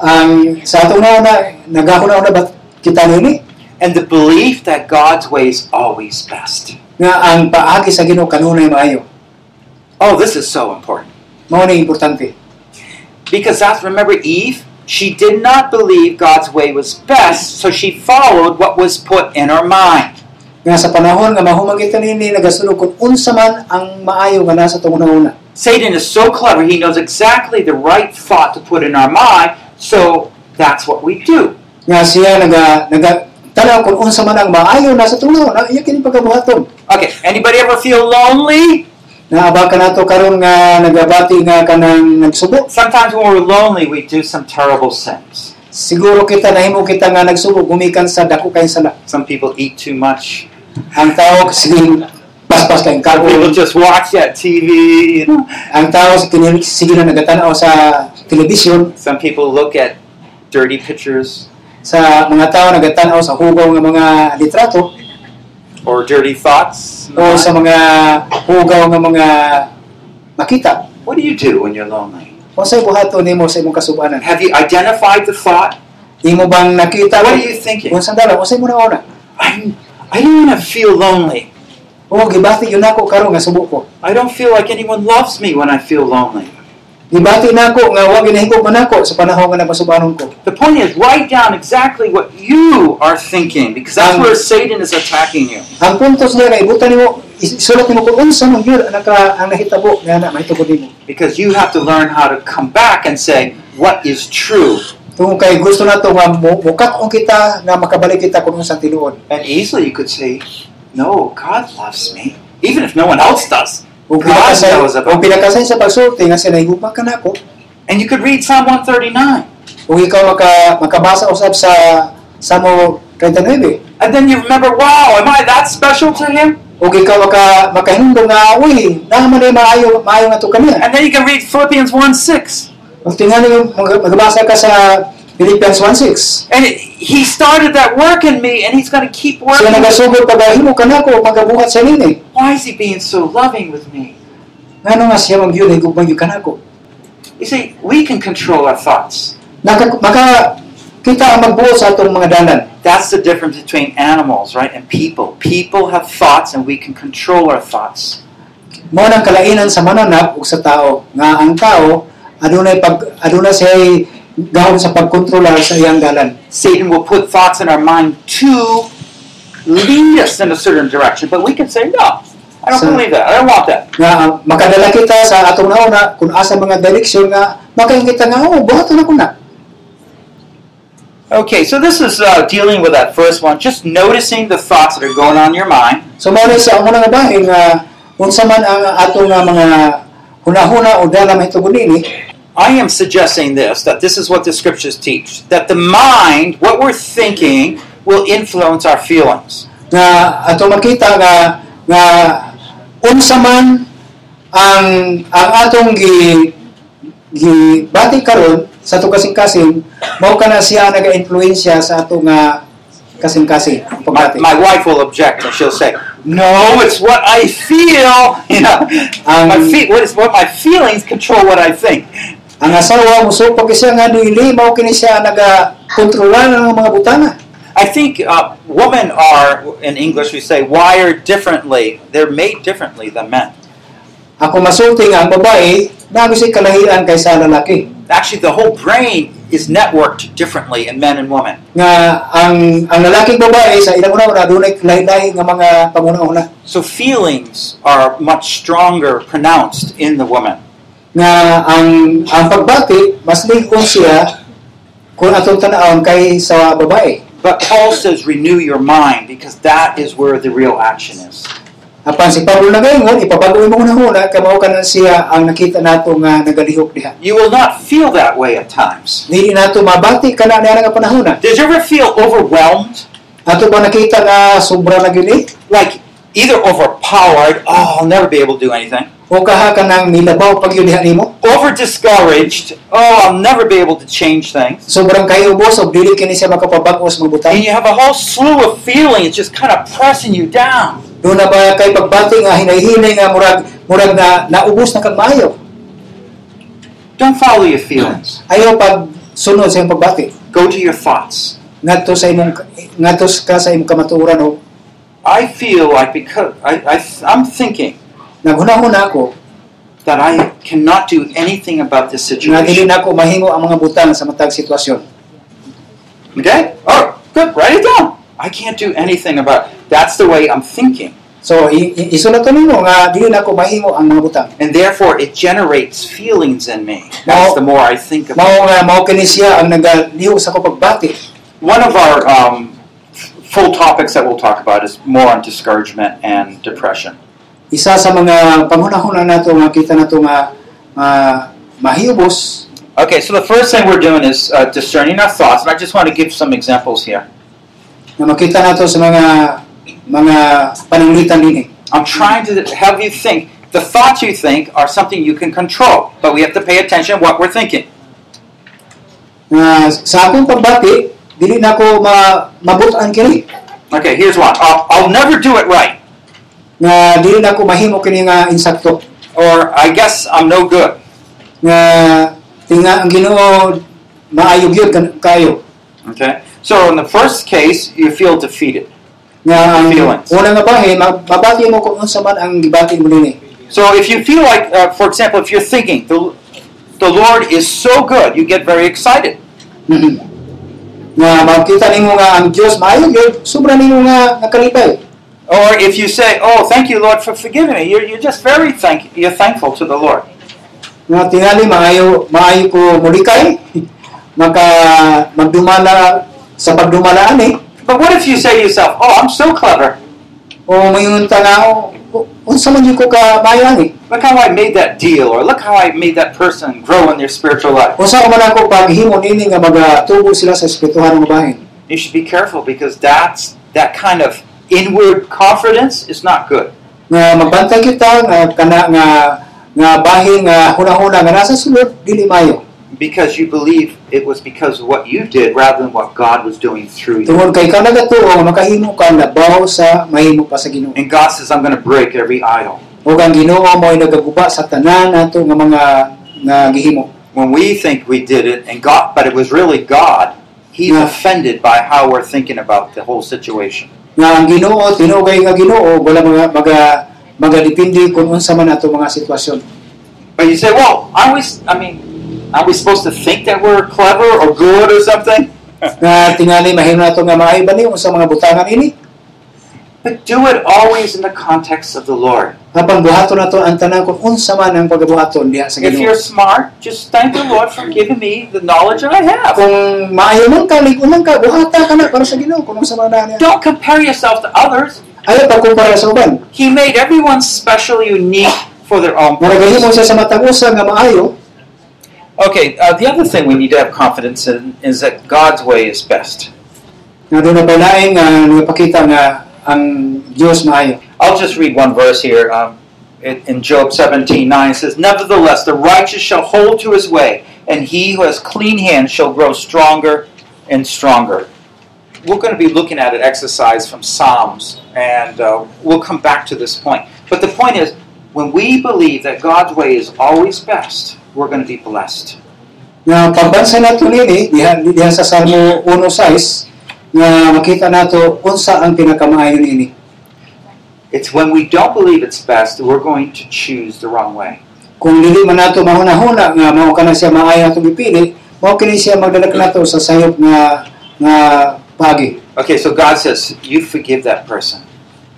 B: Ang sa atong nauna, nagahuna na ba kita nini
A: And the belief that God's way is always best.
B: nga ang paagi sa Ginoo kanunay maayo.
A: Oh, this is so important.
B: Mao ni importante.
A: Because that's, remember Eve? She did not believe God's way was best, so she followed what was put in her mind.
B: Nga sa panahon nga mahumang kita nini nagasulod kung unsa man ang maayo nga nasa atong una.
A: Satan is so clever, he knows exactly the right thought to put in our mind, so that's what we do.
B: Nga siya naga naga tanaw kung unsa man ang maayo nasa atong una, iya kini pagkabuhaton.
A: Okay, anybody ever feel lonely?
B: Naaba ka nato karon nga nagabati nga kanang nagsubo.
A: Sometimes when we're lonely, we do some terrible sins.
B: Siguro kita nahimo kita nga nagsubo gumikan sa dako kay sala.
A: Some people eat too much.
B: Ang tao sige paspas kay
A: Some people
B: karbo.
A: just watch that TV, you know.
B: Ang tao sige sige na nagatanaw sa telebisyon
A: Some people look at dirty pictures
B: sa mga tao nagatanaw sa hugaw nga mga litrato
A: or dirty thoughts.
B: o sa mga hugaw nga mga makita.
A: What do you do when you're lonely?
B: O sa buhato nimo sa imong kasubanan.
A: Have you identified the thought?
B: Imo bang nakita
A: What are you thinking?
B: Kung sandala, o sa imong nauna.
A: I'm, I don't want to feel lonely.
B: O gibati yun ako karon nga subo ko.
A: I don't feel like anyone loves me when I feel lonely.
B: Gibati na ako nga wa ginahigop man ako sa panahon nga napasubanon ko.
A: The point is, write down exactly what you are thinking because that's where Satan is attacking you.
B: Ang puntos niya nga ibutan nimo is- isulat nimo kung unsa man yun ang naka ang nahitabo nga na mahitabo nimo.
A: Because you have to learn how to come back and say, What is true?
B: Tungod kay gusto nato nga mu- mukat-on kita nga makabalik kita kung unsa tinuod.
A: And easily you could say, No, God loves me, even if no one else does.
B: Kung
A: God
B: pinakasay,
A: knows about-
B: kung pinakasay sa pagsulti nga sinahigupa ka na ako,
A: And you could read Psalm 139.
B: kung ikaw maka, makabasa usab sa Samo 39,
A: And then you remember, Wow, am I that special to him?
B: kung ikaw maka, makahindong nga, uy, naman ay maayo, maayo nga to kaniya.
A: And then you can read Philippians 1 6.
B: Kung tingnan yung mag- magbasa ka sa Philippians 1.6,
A: And it, he started that work in me, and he's going to keep
B: so
A: working.
B: nagasugod pagahimo ka na ako, magabuhat sa nini.
A: Why is he being so loving with me?
B: Nga nga siya mang yun, higugmang yun ka na ako.
A: You see, we can control our thoughts.
B: Naka, maka, kita ang magbuo sa atong mga dalan.
A: That's the difference between animals, right, and people. People have thoughts, and we can control our thoughts.
B: Mao nang kalainan sa mananap ug sa tao nga ang tao adunay pag aduna siya gahom sa pagkontrolar sa iyang dalan.
A: Satan will put thoughts in our mind to lead us in a certain direction, but we can say, no, I don't
B: So-
A: believe that. I don't want that.
B: Nga ah, makadala kita sa atong nauna kung asa mga direksyon nga makaingita nga oh buhaton ako na.
A: Okay, so this is uh, dealing with that first one, just noticing the thoughts that are going on in your mind.
B: So mao sa una nga bahin nga unsa man ang atong nga mga hunahuna o dala mahitugod nini
A: I am suggesting this that this is what the scriptures teach that the mind, what we're thinking, will influence our feelings.
B: nga ato makita nga nga unsa man ang ang atong gi gibati karon sa ato kasing-kasing mao kana siya naga-impluwensya sa ato nga kasing-kasing ang
A: My,
B: pagbati.
A: my wife will object and she'll say, No, it's what I feel. You know, my
B: ang
A: fe- what is what my feelings control what I think.
B: ang asawa musupag siya nga dili mao kini siya naga kontrolar ng mga butanga.
A: I think uh, women are, in English we say, wired differently. They're made differently than men.
B: Ako masulting ang babae, dami si kalahian kaysa lalaki.
A: Actually, the whole brain is networked differently in men and women.
B: Nga ang ang lalaking babae sa ilang una una dunay lahi-lahi nga mga panguna-una.
A: So feelings are much stronger, pronounced in the woman.
B: Nga ang ang pagbati mas lingon siya kung atong tan-awon kay sa babae.
A: But Paul says, renew your mind because that is where the real action is.
B: Apan si Pablo na ngayon, ipabagoy mo una-una kay mao kana siya ang nakita nato nga nagalihok diha.
A: You will not feel that way at times.
B: Dili nato mabati kana niya nga panahona.
A: Did you ever feel overwhelmed?
B: Ato ba nakita nga sobra na gini
A: Like either overpowered, oh, I'll never be able to do anything,
B: o kaha ka nang nilabaw pag yun diha nimo?
A: over discouraged, oh, I'll never be able to change things.
B: Sobrang kayo ubos o dili kini siya makapabag-o sa magbutang.
A: And you have a whole slew of feelings just kind of pressing you down.
B: Doon na ba kay pagbati nga hinay-hinay nga murag murag na naubos na kag maayo.
A: Don't follow your feelings.
B: Ayaw pag sunod sa imong pagbati.
A: Go to your thoughts.
B: Ngadto sa imong ngadto ka sa imong kamatuoran o
A: I feel like because I, I, I'm thinking
B: naghunahon ako
A: that I cannot do anything about this
B: nga dili
A: situation.
B: na ako mahingo ang mga butang sa matag sitwasyon.
A: Okay? All right, good. Write it down. I can't do anything about it. That's the way I'm thinking.
B: So i- i- isulat nimo nga dili na ako mahingo ang mga butang.
A: And therefore, it generates feelings in me. That's
B: Now-
A: the more I think about it.
B: Mao nga mao kini siya ang nagaliho sa ko pagbati.
A: One of our um, full topics that we'll talk about is more on discouragement and depression.
B: Isa sa mga panghunahon nato nga kita nato nga uh, mahiubos
A: Okay, so the first thing we're doing is uh, discerning our thoughts, and I just want to give some examples here.
B: na makita nato sa mga mga pananglitan eh. dinhi.
A: I'm trying to have you think. The thoughts you think are something you can control, but we have to pay attention what we're thinking.
B: Nga sa akong pagbati, dili na ako ma mabutan kini.
A: Okay, here's one. I'll, I'll never do it right,
B: Nga dili na ako mahimo kini nga insakto.
A: or I guess I'm no good.
B: Nga tinga ang Ginoo maayog yun kan- kayo.
A: Okay, so in the first case, you feel defeated.
B: Nga ang
A: Feelings.
B: una nga bahay, ma- mabati mo kung unsa man ang gibati mo dinhi.
A: So if you feel like, uh, for example, if you're thinking the, the Lord is so good, you get very excited.
B: Mhm. Nga makita nimo nga ang Dios maayog yun, sobra nimo nga nakalipay.
A: Or if you say, "Oh, thank you, Lord, for forgiving me," you're, you're just very thank you're thankful to the Lord.
B: Nga tingali maayo maayo ko mulikay maka magdumala sa pagdumalaan eh.
A: But what if you say to yourself, "Oh, I'm so clever.
B: o mayroon tanaw, unsa man eh. yun ko ka bayani.
A: Look how I made that deal, or look how I made that person grow in their spiritual life."
B: Unsa man ako paghimo nini nga magatubo sila sa espirituhan ng bahin.
A: You should be careful because that's that kind of inward confidence is not good.
B: Nga magbantay kita nga kana nga nga bahin nga hunahuna nga nasa sulod dili mayo.
A: Because you believe it was because of what you did rather than what God was doing through you.
B: Tungod kay kana gatuo nga makahimo ka labaw sa mahimo pa sa Ginoo.
A: And God says, I'm going to break every idol.
B: Ug ang Ginoo mo ay nagaguba sa tanan nato nga mga nga gihimo.
A: When we think we did it, and God, but it was really God, He's
B: Yeah.
A: offended by how we're thinking about the whole situation.
B: Nga ang Ginoo tinugay nga Ginoo wala mga mga magadepende kung unsa man ato mga sitwasyon.
A: But you say, well, aren't we, s- I mean, aren't we supposed to think that we're clever or good or something?
B: nga tingali mahimo nato nga maayo ba ni sa mga butangan ini
A: But do it always in the context of the Lord.
B: apan buhaton nato ang tanan kung unsa man ang pagbuhaton diha sa
A: If you're
B: Ginoo
A: smart, just thank the Lord for giving me the knowledge that I have.
B: kung maayo man ka lig-unan ka buhata ka na para sa Ginoo kung unsa man na niya
A: Don't compare yourself to others.
B: ayo pagkumpara sa uban
A: He made everyone special, unique for their own
B: murag
A: purpose.
B: mo siya sa matag usa nga maayo
A: Okay, uh, the other thing we need to have confidence in is that God's way is best.
B: nga doon na balain nga nagpakita nga ang Dios maayo
A: I'll just read one verse here. Um, in in Job 17 9, it says, Nevertheless, the righteous shall hold to his way, and he who has clean hands shall grow stronger and stronger. We're going to be looking at an exercise from Psalms, and uh, we'll come back to this point. But the point is, when we believe that God's way is always best, we're going to be blessed.
B: nga pagbansa nato nini diha diha sa Salmo 1:6 nga makita nato unsa ang pinakamaayon ini.
A: It's when we don't believe it's best that we're going to choose the wrong way.
B: Kung dili man nato mahuna-huna nga mao kana siya maayo atong ipili, mao kini siya magdalak nato sa sayop nga nga pagi
A: Okay, so God says, You forgive that person.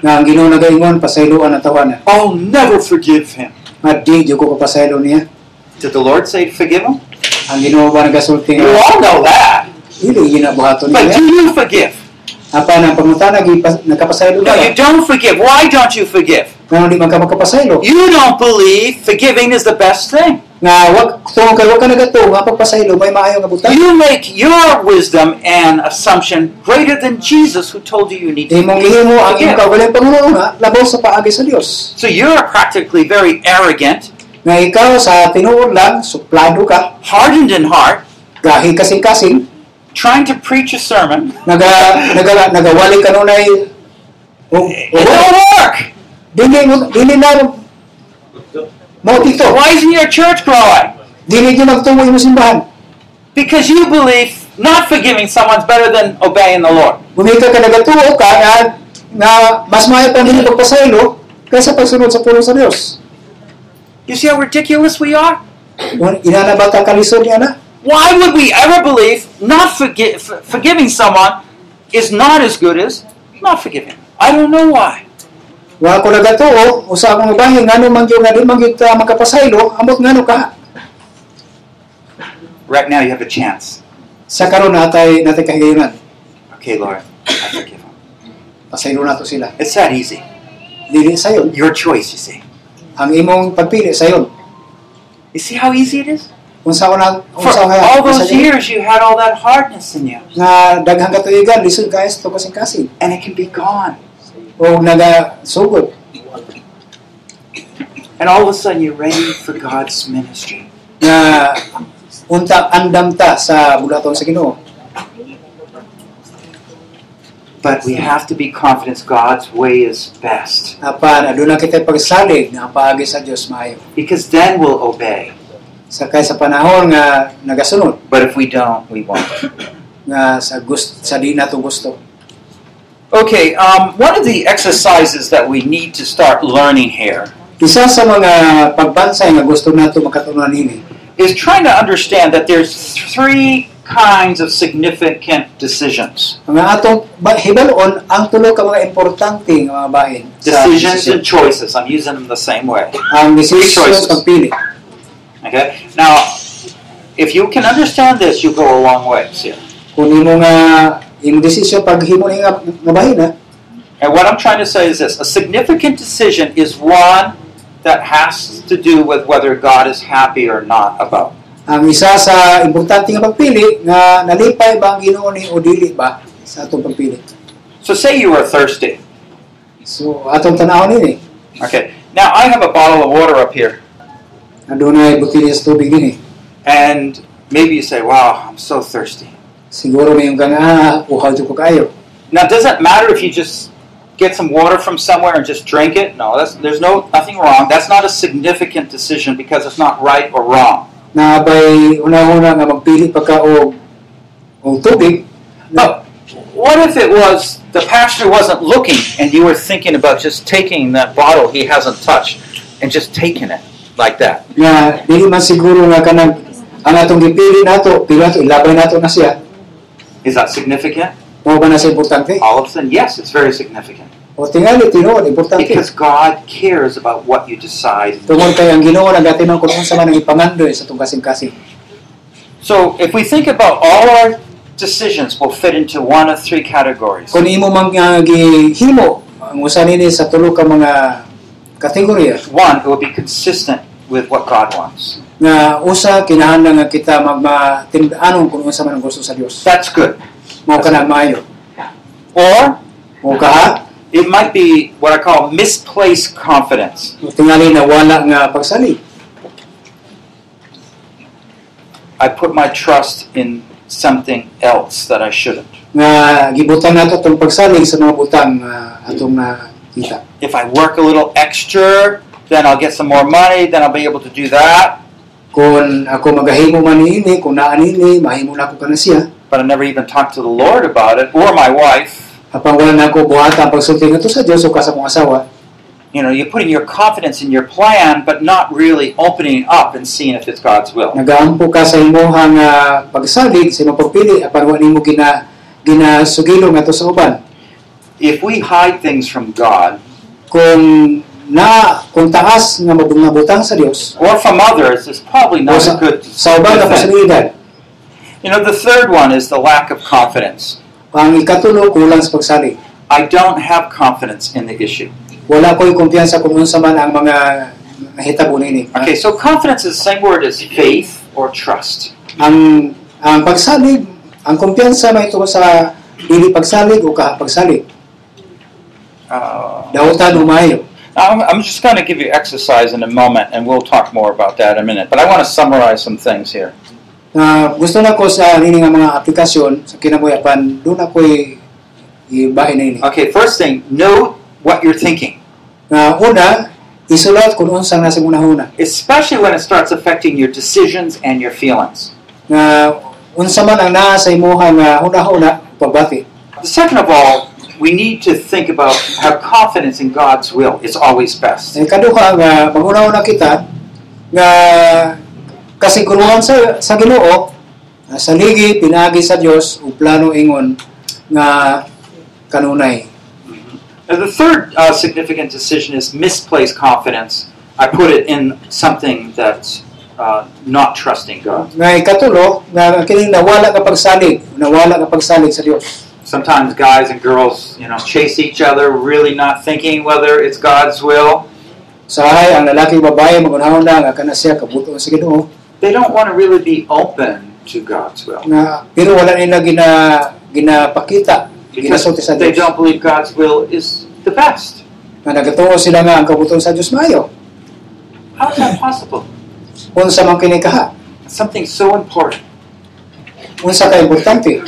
B: nga ang Ginoo nagaingon pasayloan ang tawanan.
A: I'll never forgive him.
B: Nga di jud ko kapasaylo niya.
A: Did the Lord say, Forgive him?
B: Ang Ginoo ba nagasulti
A: You
B: nga
A: all know that.
B: dili ginabuhaton
A: But
B: niya.
A: do you forgive?
B: Apan ang pangutana gipas- nagkapasaylo
A: No, you
B: ka.
A: don't forgive. Why don't you forgive?
B: Nga di man ka magkapasaylo.
A: You don't believe forgiving is the best thing.
B: Nga wag tuong kay wag ka nagato nga pagpasaylo may maayo nga butang.
A: You make your wisdom and assumption greater than Jesus, who told you you need to
B: Imong
A: forgive.
B: gihimo ang imong kaugalingong Panginoon nga labaw sa paagi sa Dios.
A: So you're practically very arrogant,
B: Nga ikaw sa tinuod lang suplado ka,
A: hardened in heart,
B: gahi kasing-kasing,
A: trying to preach a sermon.
B: naga naga nagawali ka nunay o-
A: It
B: o-
A: don't work.
B: oh, dili mo dili na mo
A: So
B: tito
A: why isn't your church growing?
B: dili gyud nagtuo imong simbahan
A: Because you believe not forgiving someone's better than obeying the Lord.
B: gumika ka nagatuo ka nga, nga mas maayo pa dili pagpasaylo kaysa pagsunod sa pulo sa Dios
A: You see how ridiculous we are?
B: ina na ba ta kalisod niya na
A: Why would we ever believe not forgi- f- forgiving someone is not as good as not forgiving? I don't know why.
B: wa ko nagatuo usa akong bahin ngano man gyud nga di man gyud ta makapasaylo amot ngano ka
A: Right now, you have a chance.
B: sa karon natay natay kahigayonan
A: Okay, Lord, I forgive him.
B: pasaylo nato sila
A: It's that easy.
B: dili sayon
A: Your choice, you see.
B: ang imong pagpili sayon
A: You see how easy it is?
B: unsa una
A: For
B: unsa nga
A: all
B: unsa
A: those
B: nga-
A: years, you had all that hardness in you,
B: nga daghang katuigan lisod guys to kasing kasing
A: and it can be gone.
B: o naga sugod
A: And all of a sudden, you're ready for God's ministry.
B: nga unta andam ta sa bulaton sa Ginoo
A: But we have to be confident God's way is best,
B: apan aduna kita pagsalig nga paagi sa Dios maayo
A: because then we'll obey.
B: sakay sa panahon nga nagasunod
A: But if we don't, we won't.
B: nga sa gusto sa di nato gusto
A: Okay, um, one of the exercises that we need to start learning here
B: isa sa mga pagbansay nga gusto nato makatunan ini
A: is trying to understand that there's three kinds of significant decisions.
B: nga atong ba- hibalon ang tulo ka mga importante nga mga bahin sa
A: Decisions
B: desisyon.
A: and choices. I'm using them the same way.
B: ang decision
A: Choices.
B: pagpili
A: Okay? Now, if you can understand this, you go a long ways here.
B: kung imo nga imo desisyon pag himo ni nga nga bahina
A: And what I'm trying to say is this a significant decision is one that has to do with whether God is happy or not about.
B: ang isa sa importante nga pagpili nga nalipay ba ang Ginoo ni o dili ba sa atong pagpili
A: So, say you are thirsty.
B: so atong tan-aw ni
A: Okay. Now, I have a bottle of water up here.
B: adunay butilya sa tubig ini
A: And maybe you say, wow, I'm so thirsty.
B: siguro mayong kang ah uhaw jud ko kaayo
A: Now, does it matter if you just get some water from somewhere and just drink it? No, that's, there's no nothing wrong. That's not a significant decision because it's not right or wrong.
B: na bay una-una nga magpili pa ka og og tubig
A: But what if it was the pastor wasn't looking and you were thinking about just taking that bottle he hasn't touched and just taking it like that?
B: nga dili man siguro nga kanang ang atong gipili nato pila to ilabay nato na siya
A: Is that significant?
B: mao ba na siya importante
A: All of a sudden, yes, it's very significant
B: o tingali tinuod importante
A: because God cares about what you decide.
B: Tungod kay ang Ginoo nagatinon kung unsa man ang ipangandoy sa itong kasing-kasing.
A: So, if we think about all our decisions, will fit into one of three categories.
B: Kung imo man nga gihimo ang usa nini sa tulo ka mga kategorya
A: One, it will be consistent with what God wants.
B: nga usa kinahanglan nga kita magmatindanon kung unsa man ang gusto sa Dios.
A: That's good.
B: Mao ka na maayo.
A: Or
B: Mao ka ha?
A: it might be what I call misplaced confidence.
B: Tingali na wala nga pagsali.
A: I put my trust in something else that I shouldn't.
B: Nga gibutang nato tong pagsali sa mga butang nga atong nakita.
A: If I work a little extra, then I'll get some more money, then I'll be able to do that.
B: Kung ako magahimo man niini, kung naa niini, mahimo na ako kana siya.
A: but I never even talked to the Lord about it or my wife.
B: Apang wala na ko buhatan pagsulti ngadto sa Dios o ka sa akong asawa,
A: You know, you're putting your confidence in your plan, but not really opening up and seeing if it's God's will.
B: nagaampo ka sa imong uh, pagsalig sa imong pagpili apan wa nimo gina ginasugilo nga sa uban
A: If we hide things from God
B: kung na kung taas nga mabungabutang sa Dios
A: or from others, it's probably not a good.
B: sa uban nga
A: good thing.
B: posibilidad
A: You know, the third one is the lack of confidence.
B: ang ikatulo kulang sa pagsalig
A: I don't have confidence in the issue.
B: wala ko'y kumpiyansa kung unsa man ang mga hitabo nini
A: Okay, so confidence is the same word as faith or trust.
B: ang ang pagsalig ang kumpiyansa may tungod sa dili pagsalig o kahang pagsalig
A: Uh,
B: daotan umayo
A: I'm, I'm just going to give you exercise in a moment, and we'll talk more about that in a minute. But I want to summarize some things here.
B: na gusto na ko sa nini nga mga aplikasyon sa kinabuhi apan doon ako'y ibahin na ini
A: Okay, first thing, know what you're thinking,
B: Nga una, isulat kung unsang nasa muna una.
A: especially when it starts affecting your decisions and your feelings.
B: Nga unsa man ang naa sa imuha nga una-una pagbati.
A: Second of all, we need to think about have confidence in God's will. It's always best.
B: Ang Eh, kaduha nga maguna-una kita nga kasiguruhan sa sa Ginoo nga sa ligi pinaagi sa Dios ug plano ingon nga kanunay.
A: And the third uh, significant decision is misplaced confidence. I put it in something that's uh, not trusting God.
B: Nga ikatulo nga kining nawala ka pagsalig, nawala ka pagsalig sa Dios.
A: Sometimes guys and girls, you know, chase each other, really not thinking whether it's God's will.
B: Sahay ang lalaki ug babae magunahuna nga kana siya kabutuan sa Ginoo
A: They don't want to really be open to God's will
B: na pero wala nila gina ginapakita
A: because
B: ginasulti sa
A: they
B: Dios
A: don't believe God's will is the best.
B: na nagatuo sila nga ang kabutuan sa Dios maayo
A: How is that possible?
B: unsa man kini kaha
A: Something so important.
B: unsa ka importante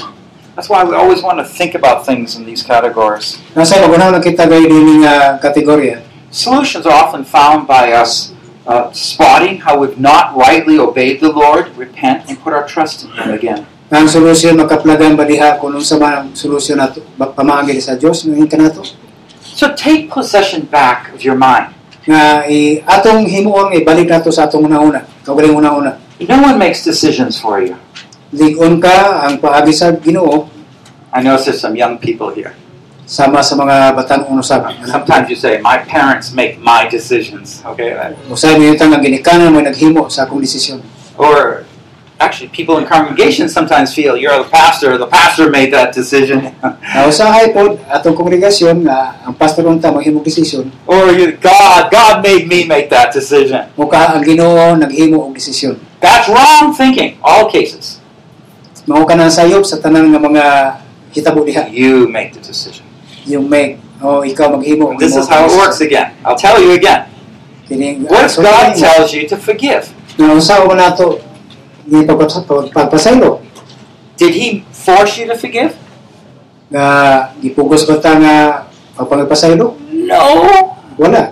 A: That's why we always want to think about things in these categories.
B: nasa magunaw na kita gay dinhi nga kategorya
A: Solutions are often found by us uh, spotting how we've not rightly obeyed the Lord, repent, and put our trust in Him again.
B: nga ang solusyon makaplagan ba diha kung unsa man ang solusyon nato ba- pamaagi sa Dios nga ka nato
A: So take possession back of your mind.
B: nga i, atong himuon ibalik nato sa atong una-una kaugaling una-una
A: No one makes decisions for you.
B: ligon ka ang paagi sa Ginoo
A: I notice there's some young people here.
B: sama sa mga batan-on usab
A: Sometimes you say, My parents make my decisions. Okay? that-
B: usab niyo nga ginikanan mo naghimo sa akong desisyon
A: Or actually, people in congregations sometimes feel you're the pastor, the pastor made that decision.
B: Nausahay po atong kongregasyon nga ang pastor unta maghimog desisyon
A: or you, God, God made me make that decision.
B: mukha ang Ginoo naghimo og desisyon.
A: That's wrong thinking. All cases.
B: Mao ka na sayop sa tanan nga mga hitabo diha
A: You make the decision.
B: yung make o ikaw maghimo og
A: This is
B: himo
A: how it
B: desisyon.
A: works again. I'll tell you again.
B: Kining
A: What
B: ah, so,
A: God tells you to forgive.
B: Nausaw man nato ni pagpasaylo
A: Did He force you to forgive?
B: nga gipugos ba ta nga pagpangipasaylo
A: No.
B: wala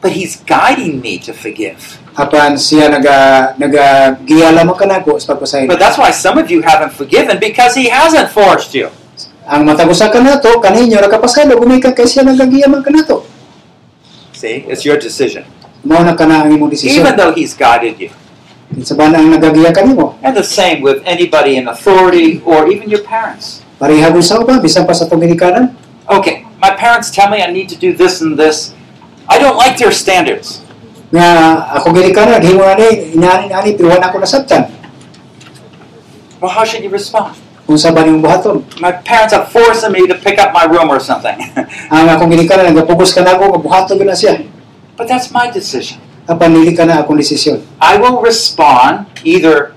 A: But He's guiding me to forgive.
B: apan siya naga naga giyala man kanako sa pagpasaylo
A: But that's why some of you haven't forgiven because He hasn't forced you.
B: ang matag usa ka nato kaninyo nakapasaylo gumikan kay siya nagagiyaman kanato
A: See, it's your decision.
B: mao na kana ang imong desisyon
A: Even though He's guided you.
B: Sa ba ang nagagiya kanimo?
A: And the same with anybody in authority or even your parents.
B: Pareha sa uban bisan pa sa Dominikanan.
A: Okay, my parents tell me I need to do this and this. I don't like their standards.
B: Nga ako Dominikanan, himo na ni inaani-ani pero wala ko nasabtan.
A: Well, how should you respond?
B: Kung sa ba niyong buhaton.
A: My parents are forcing me to pick up my room or something.
B: Ang akong Dominikanan nagapugos ka na ako, buhaton ko na siya.
A: but that's my decision.
B: Apan nili ka na akong desisyon.
A: I will respond either,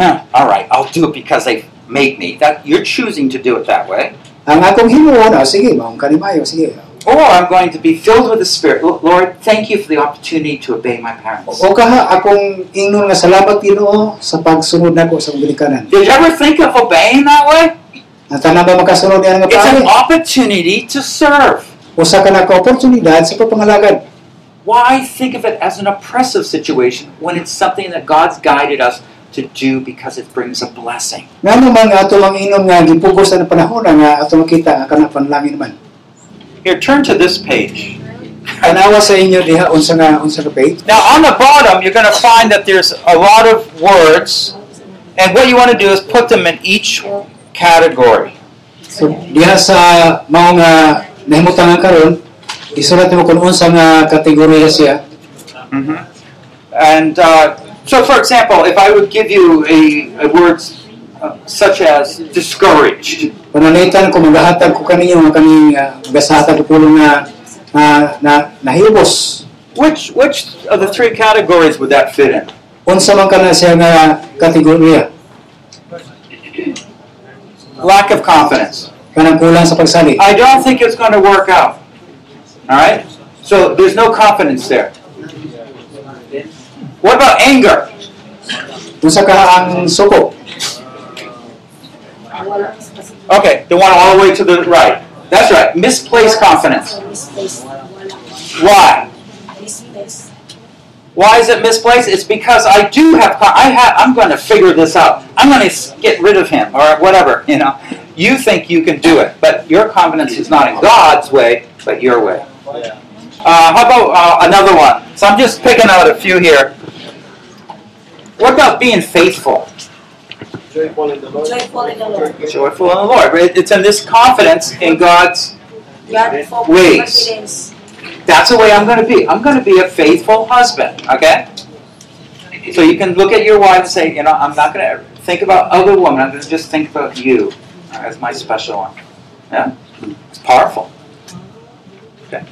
A: "Eh, all right, I'll do it because they make me. That You're choosing to do it that way.
B: Ang akong himuon, ah, sige, maong kanimayo, sige.
A: Or I'm going to be filled with the Spirit. "Lo- Lord, thank you for the opportunity to obey my parents.
B: O kaha akong ingnon nga salamat Ginoo sa pagsunod nako sa Dominikanan.
A: Did you ever think of obeying that way?
B: Ang tanan ba makasunod niya nga
A: It's an
B: paari?
A: opportunity to serve.
B: Usa ka na ka oportunidad sa pagpangalagad.
A: Why think of it as an oppressive situation when it's something that God's guided us to do because it brings a blessing.
B: Ngano man nga ato mang inom nga gipugos na panahon nga ato makita ang kanang panlangin man.
A: Here, turn to this page.
B: Tanawa sa inyo diha unsa nga unsa ka page.
A: Now, on the bottom, you're going to find that there's a lot of words, and what you want to do is put them in each category.
B: So diha sa mao nga nahimutangan karon gisulat mo kun unsa nga kategorya siya.
A: hmm And uh, so, for example, if I would give you a, a word uh, such as discouraged,
B: Panalitan ko magahatag ko kaninyo nga kaning ah, magasatag ko pulong nga na, na, nahibos.
A: which which of the three categories would that fit in?
B: Unsa man kana siya nga kategorya
A: Lack of confidence.
B: kanang kulang sa pagsali.
A: I don't think it's going to work out. All right. So there's no confidence there. What about anger?
B: Unsa ka ang suko?
A: Okay, the one all the way to the right. That's right. Misplaced confidence. Why? Why is it misplaced? It's because I do have. co- I have. I'm going to figure this out. I'm going to get rid of him or whatever. You know, you think you can do it, but your confidence is not in God's way, but your way. Uh, how about uh, another one? So I'm just picking out a few here. What about being faithful,
C: Joyful in the Lord.
D: Joyful in the Lord.
A: joyful in the Lord? It- It's in this confidence in God's.
D: God for
A: Ways.
D: confidence.
A: That's the way I'm going to be. I'm going to be a faithful husband. Okay. So you can look at your wife and say, you know, I'm not going to think about other women. I'm going to just think about you as my special one. Yeah, it's powerful. Okay.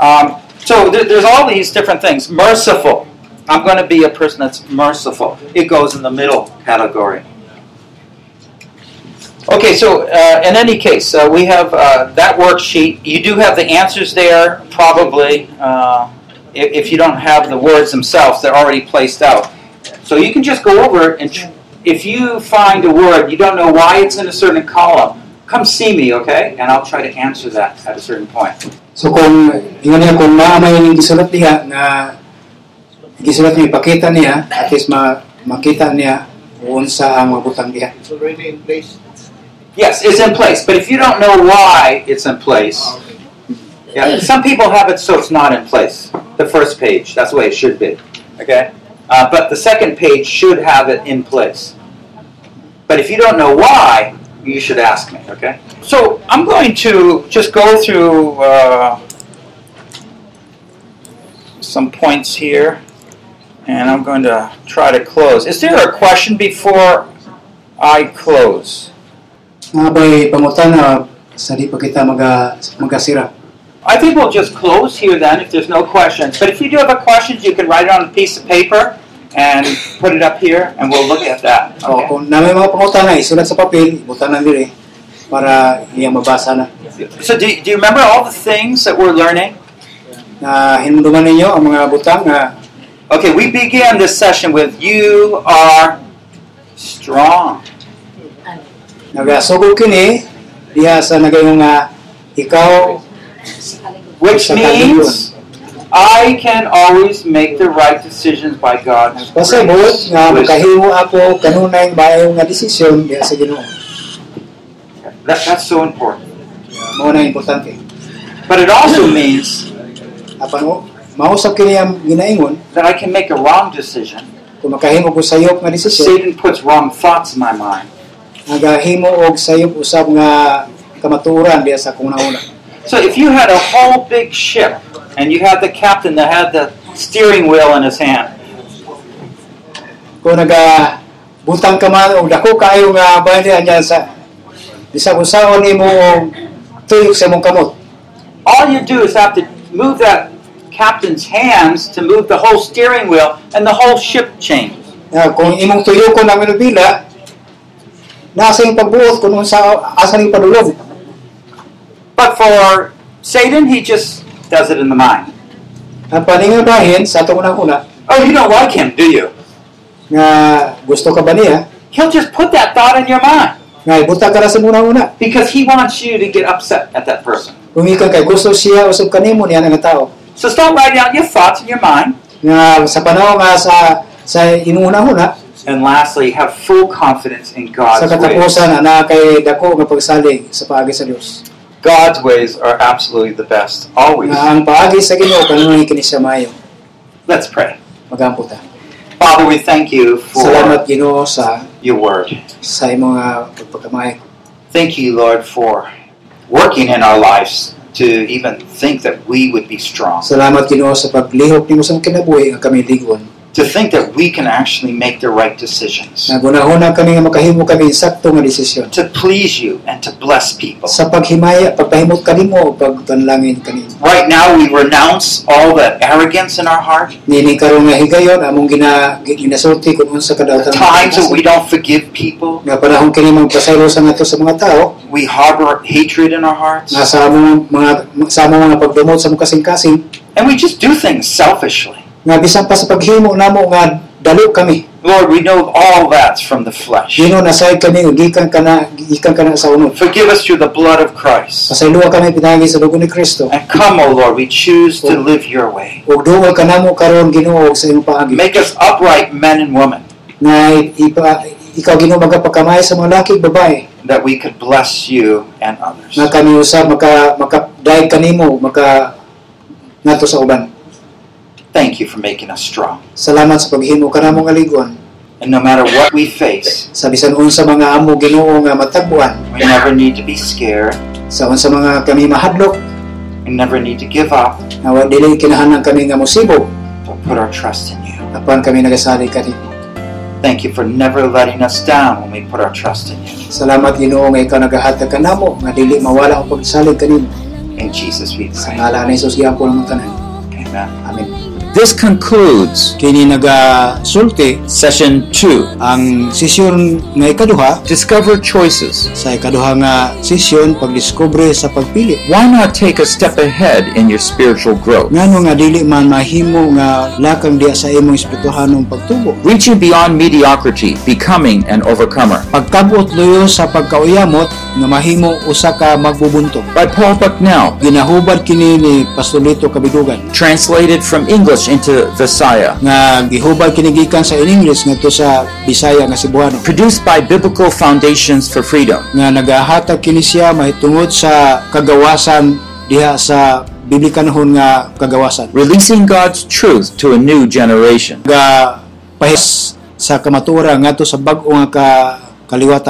A: Um, so there, there's all these different things. Merciful. I'm going to be a person that's merciful. It goes in the middle category. Okay, so uh, in any case, uh, we have uh, that worksheet. You do have the answers there, probably. Uh, i- if you don't have the words themselves, they're already placed out. So you can just go over it, and tr- if you find a word you don't know why it's in a certain column, come see me, okay? And I'll try to answer that at a certain point.
B: So kung ingon niya kung maamay ning gisulat niya nga gisulat niya ipakita niya at least ma, makita niya unsa ang mabutang niya.
C: It's already in place.
A: Yes, it's in place, but if you don't know why it's in place, yeah, some people have it so it's not in place. The first page, that's the way it should be, okay? Uh, but the second page should have it in place. But if you don't know why, you should ask me, okay? So I'm going to just go through uh, some points here, and I'm going to try to close. Is there a question before I close?
B: Nga ba'y pangutana sa di pa kita maga, magasira.
A: I think we'll just close here then if there's no questions. But if you do have a question, you can write it on a piece of paper and put it up here, and we'll look at that.
B: O
A: Okay.
B: Oh, kung na may mga pangutana isulat sa papel, ibutan na dire para iya mabasa na.
A: So, do, do you remember all the things that we're learning?
B: Na hinunduman ninyo ang mga butang nga
A: Okay, we began this session with You Are Strong.
B: nagasugod kini diha sa nagayong nga ikaw
A: Which means I can always make the right decisions by God's
B: Possible
A: grace.
B: nga
A: That,
B: makahimo ako kanunay bayong nga desisyon diha sa Ginoo.
A: that's so important.
B: Mao na importante.
A: But it also means
B: Apan mo mausap kini ang ginaingon
A: that I can make a wrong decision.
B: kung makahimo ko sayop nga desisyon,
A: Satan puts wrong thoughts in my mind.
B: nagahimo og sayop usab nga kamatuoran diha sa kung nauna.
A: So if you had a whole big ship and you had the captain that had the steering wheel in his hand,
B: Kung naga butang ka man og dako kaayo nga bayan niya sa bisag usaon nimo og tuyok sa imong kamot.
A: all you do is have to move that captain's hands to move the whole steering wheel and the whole ship changes.
B: Nga, kung imong tuyokon ang manubila, nasa yung pagbuot kung unsa asa ning padulog.
A: But for Satan, he just does it in the mind.
B: Ang paningabahin sa atong una
A: Oh, you don't like him, do you?
B: nga gusto ka ba niya,
A: He'll just put that thought in your mind
B: nga ibutang ka na sa muna una.
A: because he wants you to get upset at that person.
B: Kung ikaw kay gusto siya usab kanimo niya nga tao.
A: So start writing out your thoughts in your mind
B: Nga sa panahon nga sa sa inuuna una,
A: And lastly, have full confidence in
B: Sa
A: God's ways.
B: katapusan, ana kay dako nga pagsalig sa paagi sa Dios.
A: God's ways are absolutely the best, always.
B: Nga ang paagi sa Ginoo kanunay kini siya maayo.
A: Let's pray.
B: Magampo ta.
A: Father, we thank you for
B: Salamat Ginoo sa
A: your word.
B: sa imong ah, pagpakamay.
A: Thank you, Lord, for working in our lives to even think that we would be strong,
B: Salamat Ginoo sa paglihok nimo sa kinabuhi nga kami ligon.
A: to think that we can actually make the right decisions,
B: Nagunahuna kami nga makahimo kami sakto nga desisyon.
A: to please you and to bless people.
B: Sa paghimaya, pagpahimot kanimo o pagpanlangin kanimo.
A: Right now, we renounce all the arrogance in our heart,
B: Nini karon nga higayon among gina ginasulti kung unsa
A: the
B: kadawtan
A: times that we don't forgive people,
B: nga panahon kini magpasaylo sa nato sa mga tao
A: we harbor hatred in our hearts,
B: nga sa among mga sa among mga pagdumot sa mga kasing-kasing
A: and we just do things selfishly.
B: nga bisan pa sa paghimo namo nga dalo kami
A: Lord, we know all that's from the flesh.
B: Gino nasayod kami nga gikan kana gikan kana sa unod
A: Forgive us through the blood of Christ.
B: pasayloa kami pinagi sa dugo ni Kristo
A: And come, O Lord, we choose to live your way.
B: ug duwa kanamo karon Ginoo sa imong paagi
A: Make us upright men and women
B: nga ipa, ikaw Ginoo magpakamay sa mga laki babae
A: that we could bless you and others.
B: nga kami usa maka maka dahil kanimo maka nato sa uban
A: Thank you for making us strong.
B: Salamat sa paghimo kanamo nga liguan
A: And no matter what we face,
B: sa bisan unsa mga amo Ginoo nga matagpuan
A: we never need to be scared
B: sa unsa mga kami mahadlok
A: and never need to give up,
B: nga wa dili kinahanglan kami nga musibo
A: but put our trust in you.
B: apan kami nagasali kanimo
A: Thank you for never letting us down when we put our trust in you.
B: salamat Ginoo nga ikaw nagahatag kanamo nga dili mawala ang pagsalig kanimo
A: In Jesus we
B: sa
A: pray.
B: ngalan ni Jesus gyapon ang tanan
A: Amen.
B: amen
E: This concludes
B: kini naga sulti
E: session 2.
B: ang sesyon nga ikaduha
E: Discover choices.
B: sa ikaduha nga sesyon pagdiskubre sa pagpili
E: Why not take a step ahead in your spiritual growth?
B: ngano nga dili man mahimo nga lakang diya sa imong espirituhanong pagtubo
E: Reaching beyond mediocrity, becoming an overcomer.
B: pagkabuot luyo sa pagkauyamot nga mahimo usa ka magbubuntong
E: By Paul Bucknell,
B: ginahubad kini ni Pastolito Kabidugan
E: translated from English into Visaya.
B: nga gihubad kini gikan sa English ngadto sa Bisaya nga Cebuano
E: Produced by Biblical Foundations for Freedom.
B: nga nagahatag kini siya mahitungod sa kagawasan diha sa biblikanhon nga kagawasan
E: Releasing God's truth to a new generation.
B: nga pahis sa kamatura ngadto sa bag-o nga ka kaliwatan